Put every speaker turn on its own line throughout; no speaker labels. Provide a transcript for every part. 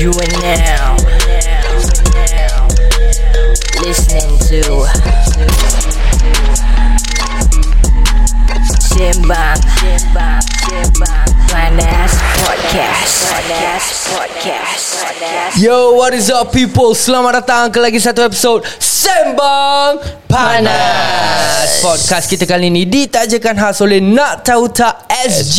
You are now listening to Simbang Finance Podcast. Podcast. Podcast. Podcast.
Yo, what is up people? Selamat datang ke lagi satu episod Sembang Panas Podcast kita kali ni ditajakan khas oleh Nak Tahu Tak SG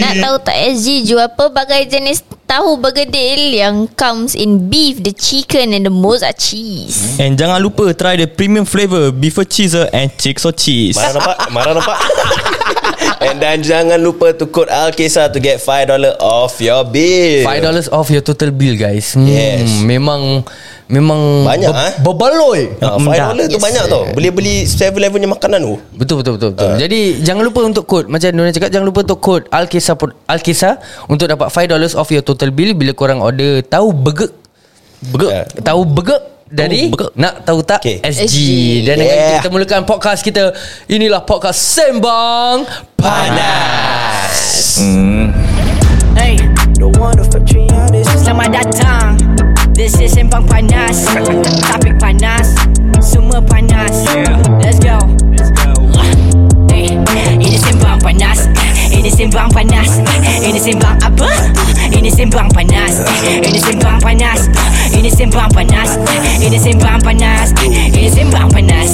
Dan Nak tahu tak SG jual pelbagai jenis tahu bergedil yang comes in beef, the chicken and the mozza cheese.
And jangan lupa try the premium flavour beef cheeser and chicks or cheese.
Marah nampak Marah nampak And then jangan lupa to code Alkisah to get $5 off your bill.
$5 off your total bill guys hmm,
Yes.
Memang Memang
Banyak, eh?
Berbaloi
Ah,
Mm,
$5 tu banyak tau. Boleh beli 7-Eleven punya makanan tu.
Betul betul betul
Ah.
betul. Uh. Jadi jangan lupa untuk kod macam Nuna cakap jangan lupa untuk kod Alkisah pod- Alkisah untuk dapat $5 off your total bill bila korang order tahu begek begek
Ya.
tahu begek dari
begek.
nak tahu tak
Okay.
SG.
SG.
dan dengan
Yeah.
itu kita mulakan podcast kita inilah podcast sembang panas.
Hey, Selamat datang This is Sembang Panas Topik panas Semua panas Let's go Hey, Ini Sembang Panas Ini Sembang Panas Ini Sembang apa? Ini Sembang Panas Ini Sembang Panas Ini Sembang Panas Ini Sembang Panas Ini Sembang Panas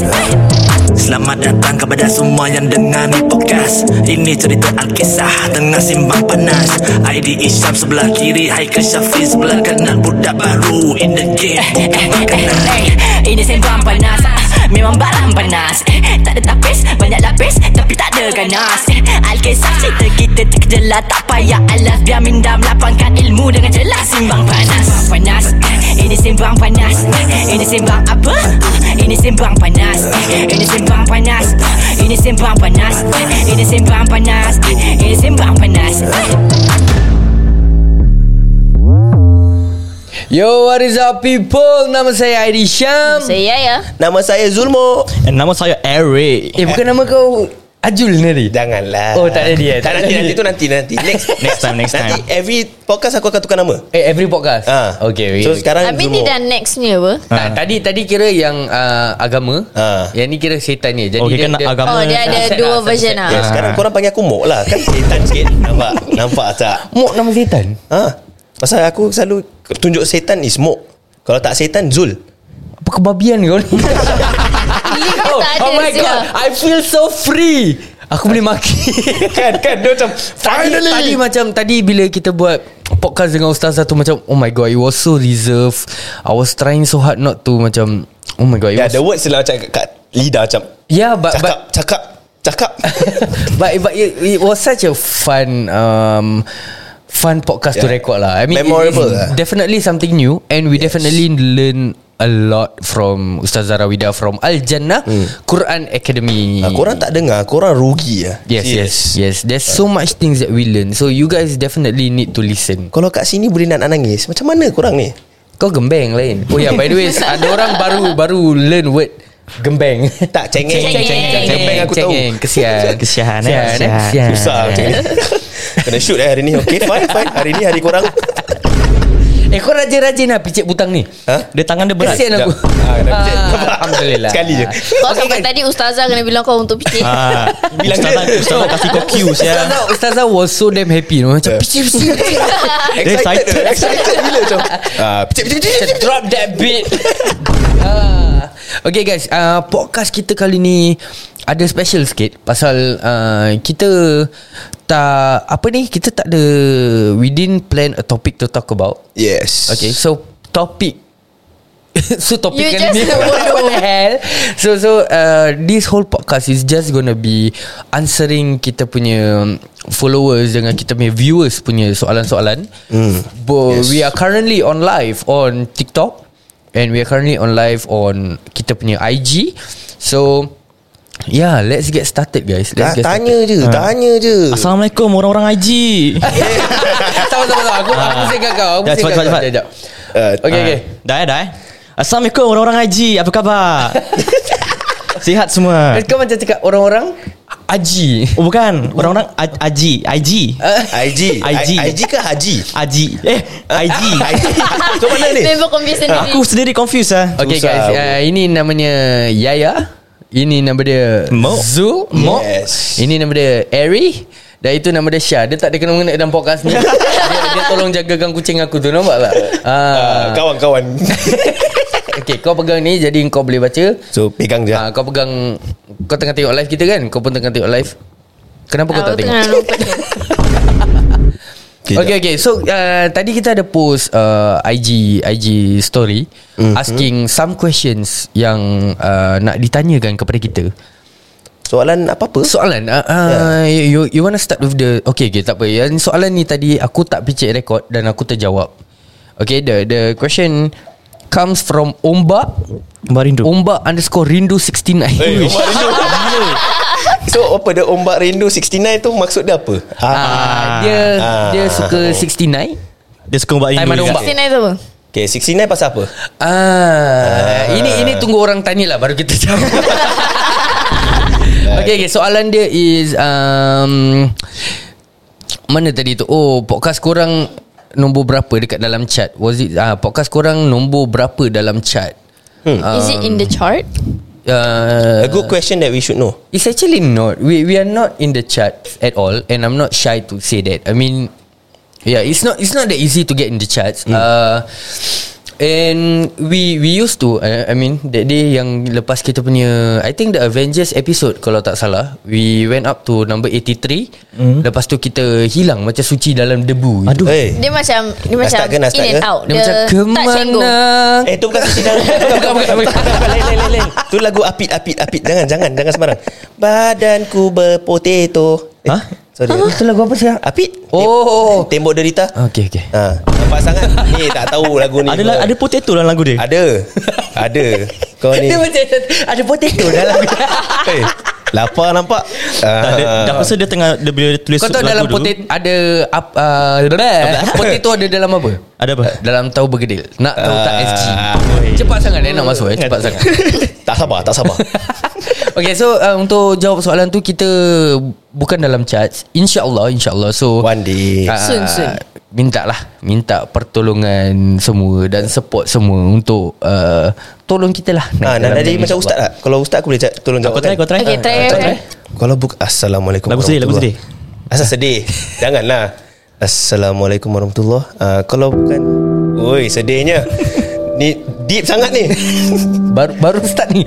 Selamat datang kepada semua yang dengar ni podcast Ini cerita Alkisah tengah simbang panas ID Isyam sebelah kiri Haikal Syafiq sebelah kanan Budak baru in the game
Eh,
Eh, Hey, eh, Ini sembang panas Ah, Memang barang panas Eh, Tak ada tapis Banyak lapis Tapi tak ada ganas Eh, Alkisah cerita kita terkejelah Tak payah alas Biar minda melapangkan ilmu Dengan jelas Simbang panas Simbang panas Eh, Ini simbang panas Eh, Ini simbang apa? Ah, Ini simbang panas Eh, Ini simbang panas Ah, Ini simbang panas Eh, Ini simbang panas Eh, Ini simbang panas Eh.
Yo what is up people? Nama saya Aidy Syam.
Saya ya.
Nama saya Zulmo.
And nama saya Eric.
Eh bukan nama kau Ajul ni.
Janganlah.
Oh, tak ada dia, tak
Tak
ada
nanti,
dia.
nanti tu nanti, nanti. Next.
Next time, next
Nanti
time.
every podcast aku akan tukar nama.
Eh every podcast.
Ah.
Okay, okay.
So sekarang
Habis ni
Zulmo.
dah next ni apa?
Tak, tadi tadi kira yang uh, agama.
Ah. kan
Yang ni kira setan ni. Jadi
Oh, kira nak agama.
Oh dia ada
Sunset lah,
dua version
sunset.
ah.
Ya, sekarang korang panggil aku Mok lah. Kan setan sikit. Nampak? Nampak tak?
Mok nama setan.
Ha? Pasal aku selalu tunjuk setan is Mok. Kalau tak setan, Zul.
Apa kebabian kau ni?
Link
oh,
tak ada.
oh my
Zia.
god, I feel so free. Aku boleh maki.
Kan, kan. Dia macam,
tadi, tadi macam tadi bila kita buat podcast dengan ustaz satu macam oh my god, it was so reserved. I was trying so hard not to macam oh my god. It
Ya,
was,
the words selalu macam kat, kat lidah macam.
yeah, but
Cakap,
but
cakap, cakap.
but, but it, it was such a fun um fun podcast to
Yeah.
record lah. I mean it-
Memorable
it-
lah.
Definitely something new and we yes. definitely learn a lot from Ustaz Zarawida from Al Jannah Quran Academy.
Hmm. Ah, korang tak dengar, korang rugi lah.
Yes, yes, yes. There's so much things that we learn. So you guys definitely need to listen.
Kalau kat sini boleh nak nangis, macam mana korang ni?
Kau gembeng lain. Oh yeah, by the way, ada orang baru baru learn word gembeng.
Tak, cengeng.
Cengeng.
Cengeng, aku tahu.
Cengeng, Kesian.
Kesian,
Kesian,
eh,
eh,
kesian.
kesian.
Susah. cengeng. Kena shoot eh hari ni. Okay, fine, fine. Hari ni hari korang.
Eh kau rajin-rajin lah picit butang ni.
Ha?
Dia tangan dia berat.
Kesian lah. aku.
Sekejap. Ah, dah picit.
Ah, Alhamdulillah.
Sekali je.
Kau sampai tadi ustazah kena bilang kau untuk fikir.
Ah,
Bilang
Ustazah,
dia.
Ustazah kasih kau cues ya.
Ustazah, Ustazah was so damn happy. No? Macam
Yeah.
picit picit. picit.
Dia
Excited.
excited.
Excited gila macam. Ah, picit, picit, picit,
Macam
picit.
drop that beat. Ah. Okay guys, uh, podcast kita kali ni ada special sikit pasal uh, kita tak apa ni kita tak ada we didn't plan a topic to talk about.
Yes.
Okay, so topic. so topic
You
kali ni
just bodoh.
what the hell? So so uh, this whole podcast is just gonna be answering kita punya followers dengan kita punya viewers punya soalan-soalan. Mm. But yes.
Yes.
we are currently on live on TikTok and we are currently on live on kita punya IG. So yeah, let's get started guys. Let's Ah.
Ta-
get
Ah, tanya je, tanya je.
Assalamualaikum orang-orang IG.
Sama sama sama. Aku aku singgah kau. Aku
Jap, cepat,
singgah
cepat,
kau.
cepat.
Jap, jap.
Ah,
Okay
Ah,
okay.
Dah eh, dah eh. Assalamualaikum orang-orang IG. Apa khabar? Sihat semua.
Kau macam cakap orang-orang Aji
Oh bukan Orang-orang A- Aji IG
Eh.
IG
IG.
I- IG ke Haji?
Aji Eh IG
So mana ni?
Member confuse sendiri
Aku sendiri confused lah
Okay
Susah.
guys uh, Ini namanya Yaya Ini nama dia
Mo.
Zul Mo.
Yes.
Ini nama dia Eri Dan itu nama dia Syah Dia tak ada kena-mengena dalam podcast ni dia, dia tolong jagakan kucing aku tu Nampak tak?
Ah,
Uh,
Kawan-kawan
okay kau pegang ni Jadi kau boleh baca
So pegang je
Ah, kau pegang Kau tengah tengok live kita kan Kau pun tengah tengok live Kenapa kau tak
Ah, Aku
tengok?
tengah lupa dia.
Okay, okay. So uh, tadi kita ada post uh, IG IG story
Mhm.
mm-hmm. asking some questions yang uh, nak ditanyakan kepada kita.
Soalan apa-apa?
Soalan uh, uh, yeah. you you want to start with the okay okay tak apa. Yang soalan ni tadi aku tak picit rekod dan aku terjawab. Okay the the question comes from ombak
Barindu
ombak underscore rindu 69.
Eh, ombak rindu So apa dia ombak rindu 69 tu maksud dia apa?
Ah, dia
Ah.
dia suka 69.
Dia suka ubat
Time ada
rindu juga.
ombak.
Sini naik apa?
Okay 69 pasal apa?
Ah, ini ini tunggu orang tanya lah baru kita jawab. okay, okay, soalan dia is um, mana tadi tu? Oh, podcast korang nombor berapa dekat dalam chat? Was it ah, podcast korang nombor berapa dalam chat? Hmm.
Is it in the chart?
Uh,
A good question that we should know
It's actually not. We we are not in the chat at all, and I'm not shy to say that. I mean, yeah, it's not it's not that easy to get in the charts. Uh, and we we used to. Uh, I mean, that day yang lepas kita punya, I think the Avengers episode kalau tak salah, we went up to number 83. Lepas tu kita hilang macam suci dalam debu.
Aduh.
Hey.
Dia macam Dia
Dah
macam
start ke? Dah
In
start
and
ke?
out
Dia macam
Tak
kemana?
cenggung
Eh tu bukan suci dalam
Bukan, bukan, bukan.
Lain lain lain lain Tu lagu apit apit apit Jangan jangan jangan sembarang Badanku berpotato eh,
Hah?
Sorry
Itu lagu apa sih?
Apit
Oh.
Tembok derita
Okay, okay.
ha, Nampak sangat Ni tak tahu lagu ni
Ada la- ada potato dalam lagu dia
Ada Ada Kau ni
Dia macam ada potato dalam.
Eh, Lapar nampak Ah.
Tak ada Dah rasa dia tengah Dia bila dia tulis
Ah. Kau tahu
lagu
dalam
tu,
potato ada ap, uh, potato ada dalam apa? Eh,
Ada apa?
Dalam tahu bergedil. Nak tahu tak
Ah,
SG.
oi.
Cepat sangat eh nak masuk eh cepat sangat.
Tak sabar Tak sabar
Okay so uh, untuk jawab soalan tu kita bukan dalam charts. Insya-Allah insya-Allah. So
One day
ah,
Soon, soon.
Minta lah Minta pertolongan semua Dan support semua Untuk uh, Tolong kita lah
Ha,
dalam charts,
nak jadi macam
insyaAllah.
ustaz tak? Kalau ustaz aku boleh ca- tolong
Kau
jawab
try kau try
Okay try
Ah,
try, try.
Kalau buka Assalamualaikum
Lagu sedih, lagu
warahmatullahi. Asal sedih Janganlah Assalamualaikum warahmatullahi uh, Kalau bukan Oi sedihnya Ni deep sangat ni
Baru baru start ni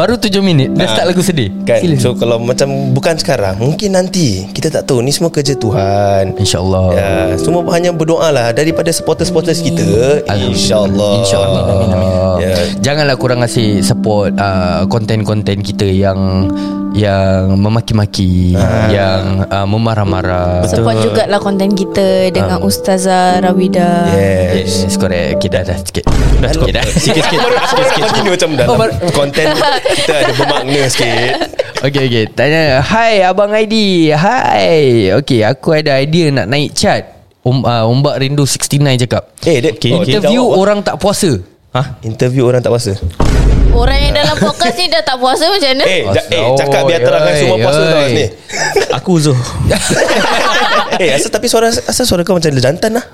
Baru 7 minit Dah
Ah.
start lagu sedih
Kan
Sila.
So kalau macam Bukan sekarang Mungkin nanti Kita tak tahu Ni semua kerja Tuhan
InsyaAllah
Ya, semua hanya berdoa lah daripada supporter-supporters kita. InsyaAllah.
InsyaAllah amin, amin, amin.
Ya.
Ah. Janganlah korang kasih support uh, Konten-konten kita yang Yang memaki-maki
Ah.
Yang uh, memarah-marah
Support jugalah konten kita Dengan Ustazah Rawida
Yes.
Yes, correct Okay dah dah sikit Dah cukup dah
Sikit-sikit Sikit-sikit Continue macam dalam
Oh, baru-
Konten kita ada bermakna sikit
Okay okay Tanya Hai Abang Aidi Hai Okay aku ada idea nak naik chart um, uh, Ombak Rindu 69 cakap
Eh, dia,
Okay, okay.
Interview
dia jawab,
orang tak puasa
Hah?
ah. Interview orang tak puasa
Orang yang dalam podcast ni Dah tak puasa macam mana
Eh, ja, eh
Oi,
cakap biar terangkan semua
oi,
puasa tau
oi.
ni
Aku Uzo
Eh, asal tapi suara Asal suara kau macam jantan lah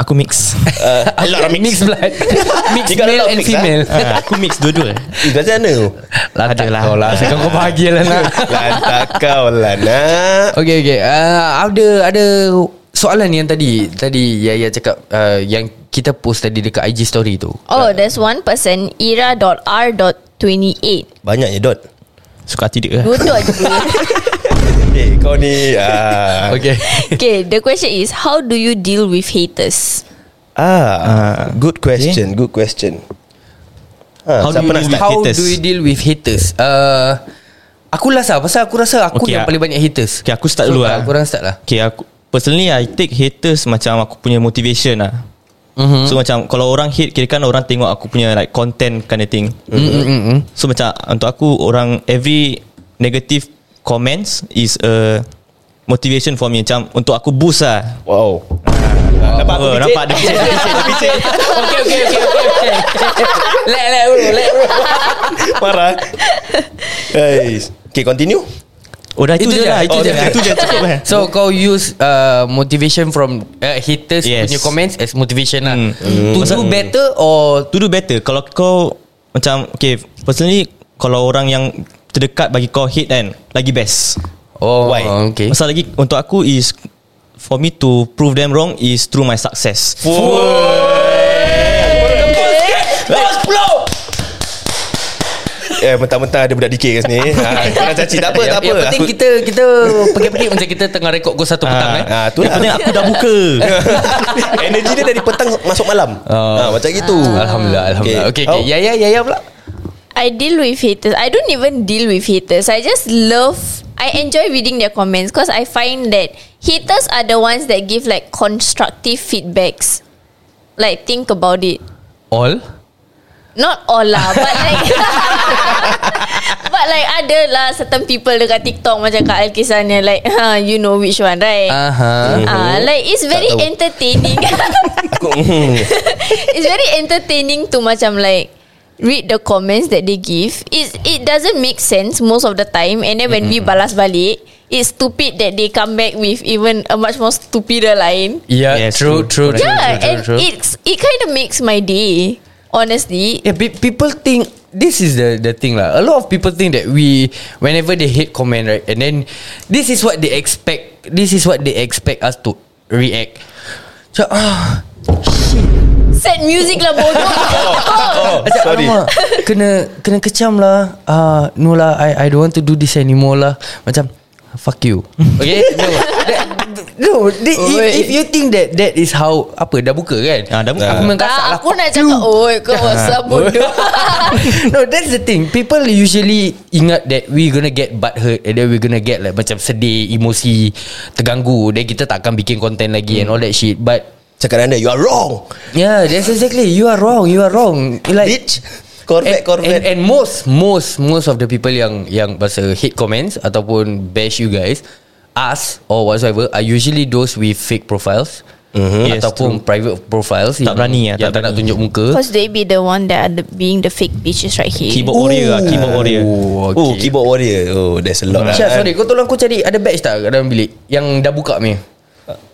Aku mix
uh, A lot of
Mixed
mix
blood Mixed
got a
male
lot of
and
mix, ah?
female
Ah, Aku mix dua-dua
Eh, Macam mana tu?
Lantak
Adalah.
kau lah Sekarang kau bahagia lah nak
Lantak kau lah nak
Okay okay uh, Ada ada soalan yang tadi Tadi Yaya cakap uh, Yang kita post tadi dekat IG story tu
Oh there's one person Ira.R.28
Banyak je Dot
Suka hati dia
Dua dot je
Eh kau ni ah.
Okay
Okay, the question is how do you deal with haters?
ah, Good question Good question ha,
How do
Siapa
you deal
nak start?
with-
How
haters.
do you deal with haters? Uh, aku lah sah Pasal aku rasa aku
Okay,
yang
ah.
paling banyak haters
Okay, aku start dulu
ah,
ah.
Korang start lah
Okay aku Personally I take haters Macam aku punya motivation lah
Mhm.
So macam Kalau orang hate Kira kan orang tengok Aku punya like content Kind of thing
Mm-hmm.
Mm-hmm.
Mm-mm-mm.
So macam Untuk aku Orang every Negative comments Is a Motivation for me Macam untuk aku boost lah
Wow
Nampak aku Nampak ada picit
okay, okay, okay, okay, okay. let, let, bro, let, bro.
Marah Hey Okay continue
Oh dah itu,
Itu
je
je.
lah Itu
Oh,
je
dah.
Itu je cukup eh
So kau use uh, motivation from uh, haters yes.
Yes.
punya comments as motivation lah.
Hmm.
Mm. To do better or
To do better Kalau kau Macam Okay Personally Kalau orang yang Terdekat bagi kau hit kan Lagi best
oh
Why?
okay.
Pasal lagi Untuk aku is For me to prove them wrong Is through my success
Eh, mentah-mentah ada budak DK kat sini. Ha, kurang caci tak apa, tak apa.
Yang penting
Aku-
kita kita pergi-pergi macam kita tengah rekod go satu petang eh.
Ah, tu
Yang
lah.
penting aku dah buka
Energi dia dari petang masuk malam. Ah, macam gitu.
Oh. Alhamdulillah, alhamdulillah. Okay, okay.
Oh.
Ya, ya, ya, ya pula.
I deal with haters. I don't even deal with haters. I just love. I enjoy reading their comments because I find that haters are the ones that give like constructive feedbacks. Like think about it.
All.
Not all lah But like But like ada lah Certain people dekat TikTok Macam Kak Alkisah ni Like huh, You know which one right
Aha. Uh-huh.
Ah, like it's very
Tak tahu.
entertaining. it's very entertaining to macam like read the comments that they give. It it doesn't make sense most of the time, and then when we
Mm-hmm.
balas balik, it's stupid that they come back with even a much more stupider line.
Yeah,
Yes,
true, true,
true.
true,
yeah,
true,
and
true, true.
it's it kind of makes my day. Honestly,
Yeah, pe- people think this is the the thing lah. A lot of people think that we whenever they hate comment right, and then this is what they expect. This is what they expect us to react. So, ah,
sad music lah bodoh.
Oh,
macam,
sorry.
"Alamak, kena kena kecam lah. Ah, no lah, I I don't want to do this anymore lah. Macam fuck you. Okay? No. That, no, that, if, if you think that that is how apa dah buka kan?
Ah, dah buka.
Aku memang kasar
Tak,
lah. Ah.
aku nak cakap Oi kau what's up bodoh
no, that's the thing. People usually ingat that we gonna get butt hurt and then we gonna get like macam sedih, emosi, terganggu. Then kita tak akan bikin content lagi mm. and all that shit. But
Cakap dengan dia, you are wrong.
yeah, that's exactly. You are wrong. You are wrong. Like
Bitch.
And, and,
Corvette, Corvette.
and most most most of the people yang yang bahasa hate comments ataupun bash you guys us or whatsoever are usually those with fake profiles mm-hmm.
Yes,
ataupun yes, private profiles
Tak berani lah,
yang tak
tak
nak
berani.
tunjuk muka
Because they be the one that are the, being the fake bitches right here.
Keyboard warrior lah Keyboard warrior
Oh,
Oh, keyboard warrior. Oh, there's a lot. lah,
Syah
kan?
sorry Kau tolong aku cari Ada badge tak kat dalam bilik Yang dah buka ni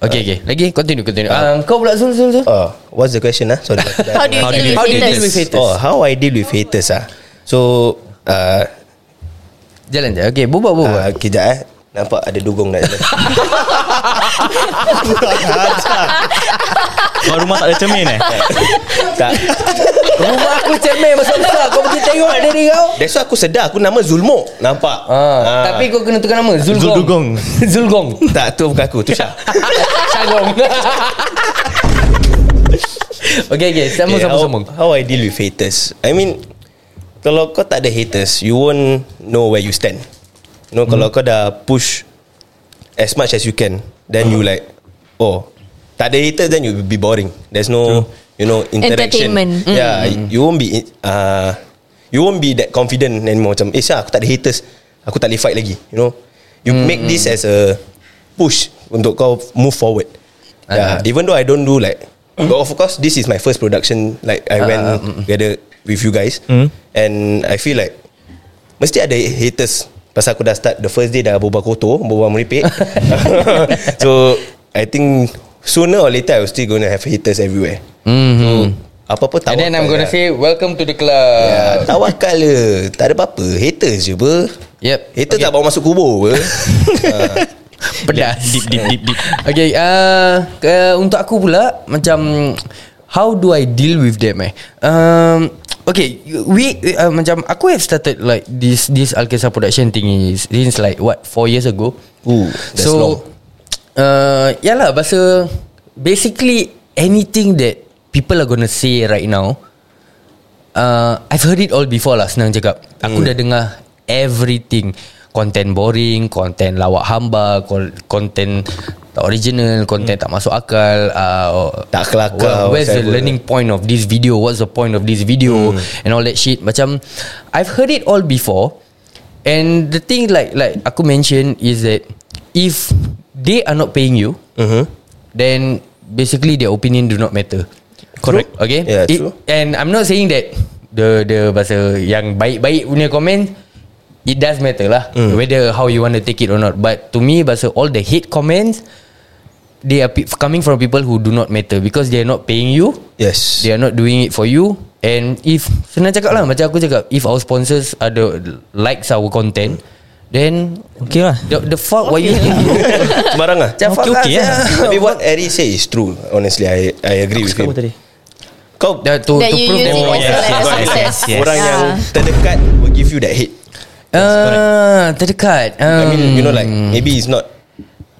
Okay okay Lagi continue continue uh, Kau pula Zul Zul Zul
Ah. Oh, what's the question ah? Sorry.
How do you deal with
How do you deal
haters?
with haters
Oh, how I deal with haters ah. So, uh,
Jalan je Okay bubak
uh,
bubak
kejap eh. Nampak ada dugong nak jalan.
Kau rumah tak ada cermin eh
tak.
Rumah aku cermin Masuk besar Kau pergi tengok dari kau
That's why aku sedar aku nama Zulmo. Nampak.
Ah, Tapi kau kena tukar nama Zul
Zul
Gong
Dugong.
Zul Gong
tak tu bukan aku, tu Syah.
Syah Gong Okay okay Sama sama
Okay, Eh, how,
sama
How I deal with haters I mean Kalau kau tak ada haters You won't know where you stand You know Kalau kau dah push As much as you can Then you like Oh Tak ada haters Then you will be boring There's no You know Interaction
Entertainment.
Yeah You won't be uh, You won't be that confident anymore Macam Eh Syah aku tak ada haters Aku tak boleh fight lagi You know You make this as a Push Untuk kau move forward Yeah, even though I don't do like, but of course this is my first production. Like I went together with you guys, and I feel like mesti ada haters. Pasal aku dah start the first day dah boba kotor, boba meripik. so I think sooner or later I was still gonna have haters everywhere. So apa-apa tawakal.
And then I'm gonna
lah.
say Welcome to the club
Ah, tawakal le. Tak ada apa-apa. Haters je ber.
Yep
Haters tak bawa masuk kubur ber.
Pedas
Deep deep deep deep
Okay uh, uh, Untuk aku pula Macam How do I deal with them eh um, Okay We uh, Macam Aku have started like This this Alkesa production thing is Since like what Four years ago
Ooh, that's
So
long.
uh, Yalah bahasa Basically Anything that People are gonna say right now uh, I've heard it all before lah Senang cakap Aku
Hmm.
dah dengar Everything Content boring Content lawak hamba kon- Content Tak original Content tak masuk akal uh,
Hmm. Tak kelakar,
Where's the
whatever.
learning point of this video What's the point of this video
Hmm.
And all that shit Macam I've heard it all before And the thing like Like aku mention Is that If They are not paying you
Uh-huh.
Then Basically their opinion do not matter
Correct.
Okay
Yeah, true.
And I'm not saying that the the bahasa yang baik-baik punya komen it does matter lah
Hmm.
mm. whether how you want to take it or not. But to me, bahasa all the hate comments they are pe- coming from people who do not matter because they are not paying you.
Yes.
They are not doing it for you And if Senang cakap lah Macam aku cakap If our sponsors Ada Likes our content Then
Okay lah
The, the fuck What you
Sembarang lah
Macam fuck
okay
lah,
lah.
sia.
Tapi what Ari say is true Honestly I I agree with him Kau Oh,
Dah to,
That
to
you
prove
use
them
it
wrong.
as a, like, a success
yes.
Orang
Yeah.
yang terdekat Will give you that hate
Ah, terdekat. Um,
I mean you know like Maybe it's not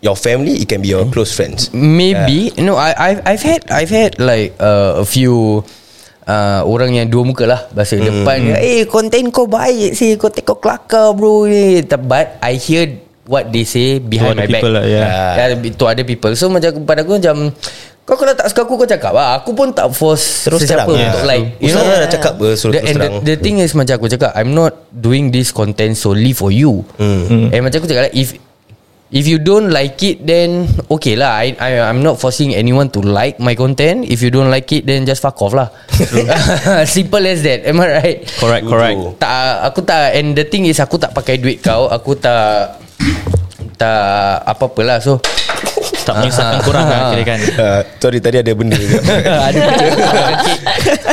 Your family It can be your close friends
maybe no. I I've I've had I've had like uh, a few uh, orang yang dua muka lah bahasa
Hmm,
mm. depan. Eh, konten kau baik sih. Konten kau kelakar bro ni. But I hear what they say behind my
other
back.
people lah, yeah.
yeah. To other people. So macam pada aku macam kau kalau tak suka aku kau cakap lah. Aku pun tak force
Terus
sesiapa
terang,
untuk
yeah.
like
Ustaz dah cakap apa, suruh
the,
terus
and the,
terang.
the thing is macam aku cakap I'm not doing this content solely for you.
Hmm.
Mm. And macam aku cakap like, if if you don't like it then okay lah I, I I'm not forcing anyone to like my content. If you don't like it then just fuck off lah. Simple as that. Am I right?
Correct correct
Betul.
Tak aku tak and the thing is aku tak pakai duit kau. Aku tak tak apa-apalah so
Tak menyusahkan korang lah kira kan
Ah, Sorry tadi ada benda
ada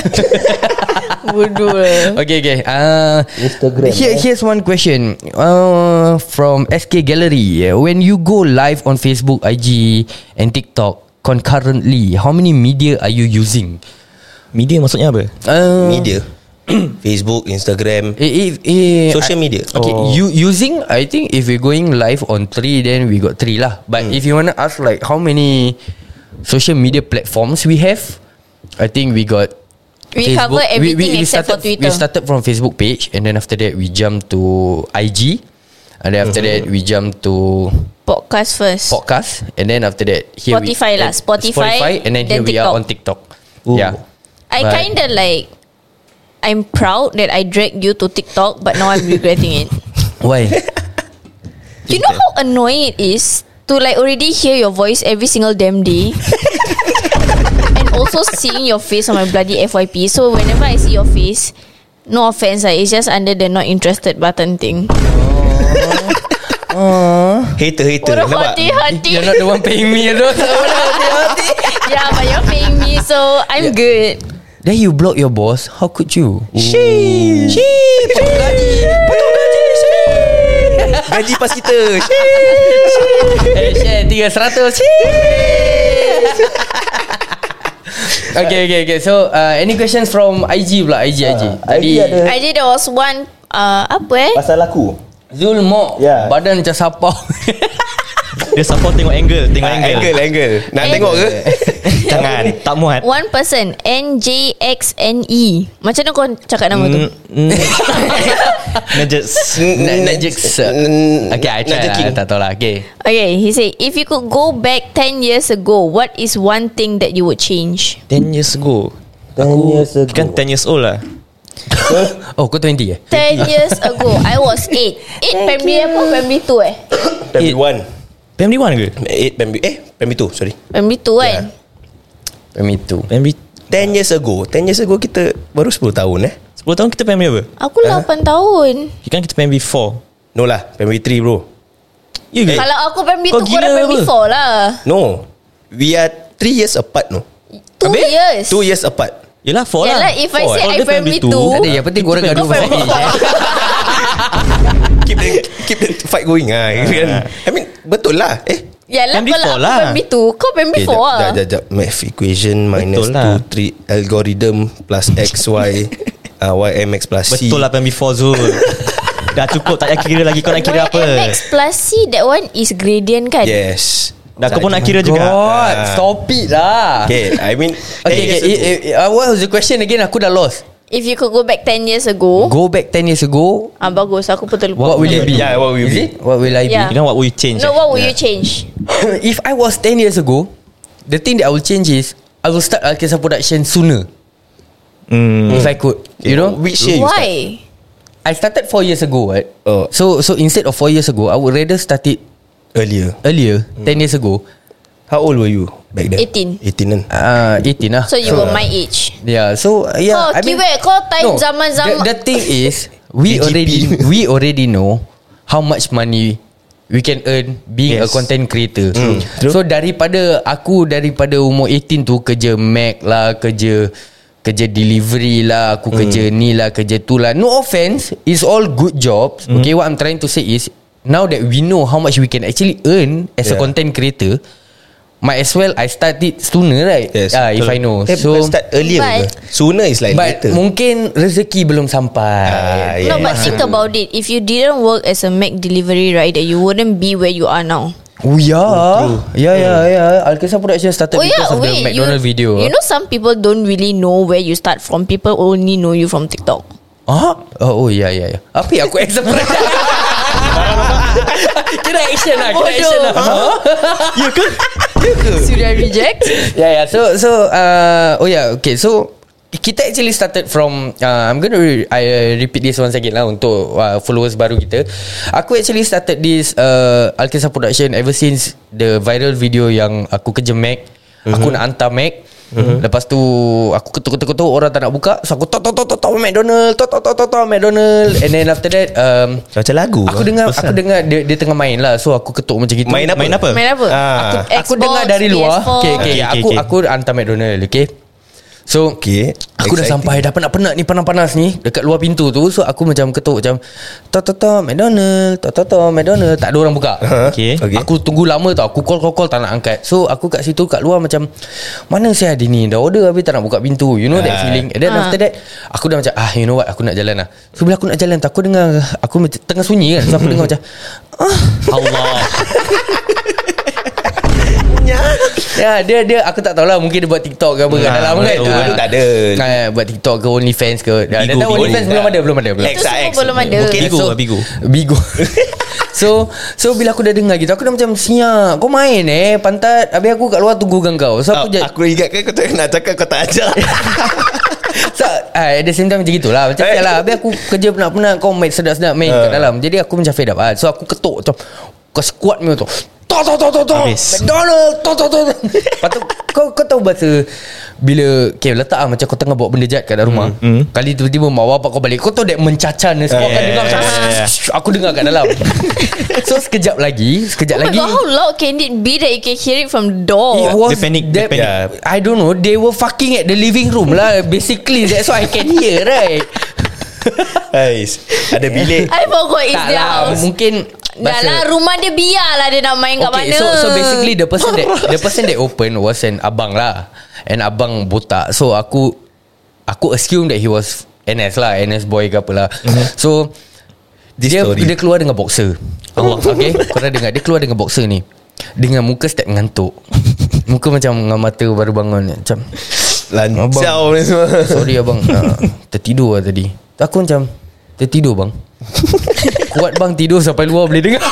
Bodoh lah
Okay, okay. Uh, Instagram.
eh.
Here, here's one question uh, from SK Gallery. When you go live on Facebook, IG, and TikTok concurrently, how many media are you using?
Media maksudnya apa?
Uh,
Media Facebook Instagram
Eh, eh, eh,
Social media Oh.
Okay, you using I think if we're going live on three, then we got three lah. But
Hmm.
if you wanna ask like how many social media platforms we have, I think we got.
We cover everything except for
started, We
Twitter.
started from Facebook page, and then after that we jump to IG, and then after that we jump to
Podcast first
podcast, and then after that here we-
Spotify lah,
and
Spotify,
and then,
then
here we are
TikTok.
on TikTok.
Ooh.
Yeah,
I
But-
kind of like I'm proud that I dragged you to TikTok but now I'm regretting it
why?
You know how annoying it is to like already hear your voice every single damn day. and also seeing your face on my bloody FYP. So whenever I see your face, no offense, like, it's just under the not interested button thing.
Hater hater
Eh,
What a hati hati.
You're not the one paying me, you know.
yeah, but you're paying me, so I'm good.
Then you block your boss. How could you?
Gaji pas kita
Eh, share tiga seratus Okay, okay, okay. So, uh, any questions from IG pula? IG, IG. Tadi,
I did there was one uh, apa eh?
Pasal aku
Zul mok.
Yeah.
Badan macam sapau.
Dia support tengok angle Tengok
Ah,
angle,
Angle angle Nak
Angle.
tengok ke
Jangan Tak muat
One person NJXNE E. Macam mana kau cakap nama tu?
Hmm. Najis
nak nak jeks. Okay, I
Nak
try
jeking.
lah. Tak tahu lah. Okay.
Okay, he said, if you could go back 10 years ago, what is one thing that you would change?
10 years ago
10 years ago.
Kan 10 years old lah
Oh, kau 20 eh?
10 years ago, I was 8. 8 primary apa? Primary 2 eh?
Pembi 1
Family one ke?
8 Pembi Eh Pembi 2 sorry
Primary 2 kan?
Me too.
Family
10 years ago 10 years ago kita Baru 10 tahun eh
10 tahun kita family apa?
Aku 8 tahun.
Kan kita family 4
No lah Pembi 3 bro
Ya ke?
Kalau aku primary 2,
Kau
korang
gila
primary
apa?
4 lah.
No We are 3 years apart no
2 years.
2 years apart
Yelah 4 lah
Yalah, if I
Four.
say
All
I
the
primary
two.
two,
Tak ada, yang penting korang gaduh pasal
primary
ni.
Keep the, keep the fight going ah. kan? I mean Betul lah Eh
Yalah,
Primary
kalau
four
aku
lah.
primary 2, kau primary 4 lah.
Jap, jap, jap. Math equation minus
Betul lah.
2, 3 algorithm plus x, y, uh, y, m, x plus c.
Betul lah family 4 Zul Dah cukup tak payah kira lagi Kau nak kira apa
MX plus C, that one is gradient kan?
Yes.
Dah kau pun nak kira juga
Oh God, stop it lah. Okay,
Okay, I mean.
okay. okay. Eh, eh, eh, what was the question again? Aku dah lost.
If you could go back 10 years ago,
Go back 10 years ago.
ah, bagus, aku pun terlupa.
What will you be?
Yeah, what will you
Is
be?
it? What will I be?
Yeah.
You know what would you change?
No, what would you change?
if I was 10 years ago, the thing that I will change is I will start Alkisah production sooner
Hmm.
mm. if I could. You know,
Which year you start?
Why?
I started 4 years ago, right?
Oh.
So so instead of 4 years ago, I would rather start it
Earlier.
earlier, 10
Hmm.
years ago.
How old were you back then?
18.
18 kan?
Uh 18 lah.
So you were my age.
yeah, so uh, yeah,
Kau
I mean
kiwek, kau time zaman-zaman-
The, the thing is we
KGP.
already we already know how much money we can earn being yes. a
Yes.
content creator. Mm. So daripada aku daripada umur 18 tu kerja Mac lah, kerja kerja delivery lah, aku mm. kerja ni lah, kerja tu lah. No offense, it's all good jobs. Mm. Okay, what I'm trying to say is now that we know how much we can actually earn as yeah. a
Yeah.
content creator, might as well I start it sooner right?
Yes,
ah, if
betul.
I know.
Eh, so,
so
start earlier
But-
ke? Sooner is like
But
later.
mungkin rezeki belum sampai.
Ah,
No,
yeah.
but think about it. If you didn't work as a Mac delivery rider, you wouldn't be where you are now.
Oh ya Ya ya ya Alkisah production started
oh
Because
yeah,
of the
wait. You,
McDonald video
you know, some people don't really know where you start from. People only know you from TikTok.
ah? Oh oh, ya ya ya Apa yang aku express Kira action lah Kira action lah Huh?
Should I reject?
Yeah yeah So so uh, Oh yeah okay so kita actually started from uh, I'm gonna re- I uh, repeat this once again lah Untuk uh, followers baru kita Aku actually started this uh, Alkisah Production Ever since The viral video yang Aku kerja Mac Aku
Mhm.
nak hantar Mac Lepas tu Aku ketuk-ketuk-ketuk Orang tak nak buka So aku tok tok tok tok tok McDonald Tok tok tok tok tok McDonald And then after that um,
Macam lagu
Aku
lah.
dengar
Pasal.
Aku dengar dia, dia tengah main lah So aku ketuk macam gitu
Main apa?
Main apa?
Main apa?
Ah.
Aku-
Aku
Xbox,
dengar dari luar
PS4.
okay, okay,
Okay, okay,
Aku
okay.
aku hantar McDonald Okay So
Okay.
Aku dah
Exciting.
sampai Dah penat-penat ni Panas-panas ni Dekat luar pintu tu So aku macam ketuk Macam Tata-tata McDonald Tata-tata McDonald Tak ada orang buka
Okay.
Okay.
Aku tunggu lama tau Aku call-call-call tak nak angkat So aku kat situ Kat luar macam Mana saya hari ni Dah order habis tak nak buka pintu You know that feeling And then after that Aku dah macam Ah you know what Aku nak jalan lah So bila aku nak jalan tu Aku dengar Aku macam tengah sunyi kan So aku dengar macam Ah
Allah
Ya dia dia aku tak tahulah mungkin dia buat TikTok ke apa kan
Ah,
dalam kan.
betul,
Ah,
tak ada.
Ah, buat TikTok ke OnlyFans ke. Dah dah
Bigo,
tahu
Bigo.
OnlyFans belum ada belum ada belum.
X
Itu
lah,
semua
X.
belum ada.
Mungkin
Bigo
so-
lah Bigo
ah, Bigo. so so bila aku dah dengar gitu aku dah macam siap kau main eh pantat habis aku kat luar tunggu gang kau. So
Ah,
aku je
Aku ingatkan kau tak nak cakap kau tak ajar
so, ah, at the same time macam gitulah macam
Eh.
sial lah habis aku kerja penat-penat kau main sedap-sedap main kat dalam. Jadi aku macam fed up ah. So aku ketuk macam kau squat ni tu. Tok tok tok tok tok.
Habis.
McDonald tok tok tok. Lepas tu kau kau tahu bahasa bila okay, letak ah macam kau tengah bawa benda jahat kat dalam rumah.
Hmm,
Mm, Kali tiba-tiba mak bapak kau balik kau tahu that mencacan ni semua
Yeah,
kan dengar macam
yeah, yeah.
aku dengar kat dalam. so sekejap lagi, sekejap
Oh my
lagi
god, how loud can it be that you can hear it from the door?
It was
Dia panic, dia
that-
panic.
I don't know They were fucking at the living room lah Basically That's what I can hear right
Ais, Ada bilik
I forgot it's
Tak
their
lah
house.
Mungkin
Dah lah rumah dia biar lah dia nak main kat
Okay,
mana.
so so basically the person that the person that open was an abang lah, an abang botak. So aku aku assume that he was NS lah, NS boy ke apalah. So
Mhm. This
dia
story. Oh.
dia keluar dengan boxer. Allah, okay. Kau dah dengar dia keluar dengan boxer ni. Dengan muka step ngantuk. Muka macam dengan mata baru bangun macam
Lancau ni semua
sorry abang uh, tertidur lah tadi. Aku macam tertidur bang. Kuat bang tidur sampai luar boleh dengar.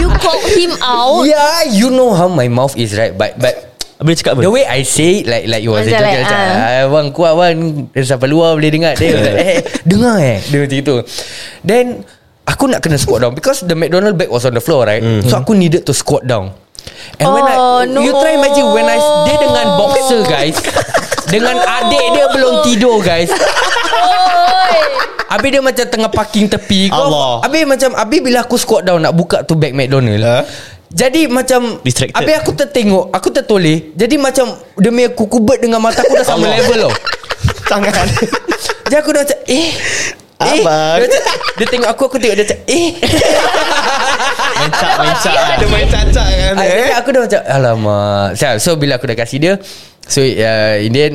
you call him out.
Yeah, you know how my mouth is right, but but
Habis dia cakap apa?
The way I say it Like like it was a
Macam
joke
like,
Macam
ah.
ah. Abang kuat abang Dia Sampai luar boleh dengar Dia macam, eh, Dengar eh Dia macam itu Then Aku nak kena squat down Because the McDonald bag was on the floor right So aku needed to squat down And when I
Mhm. Oh, no.
You try imagine When I Dia dengan boxer guys Dengan adik dia belum tidur guys
Oi.
Habis dia macam tengah parking tepi kau.
Allah.
Habis macam Habis bila aku squat down Nak buka tu bag McDonald
Ha?
Jadi macam
Eh? Distracted.
Habis aku tertengok Aku tertoleh Jadi macam Demi aku kubet dengan mata aku Dah sama
Allah.
level tau
Tangan
Jadi aku dah macam Eh Eh
Abang.
dia, macam, dia tengok aku Aku tengok dia macam Eh
Mencak mencak
Ada main cacat kan
Ah,
eh?
Jadi aku dah macam Alamak Sial. So bila aku dah kasih dia So uh, in the end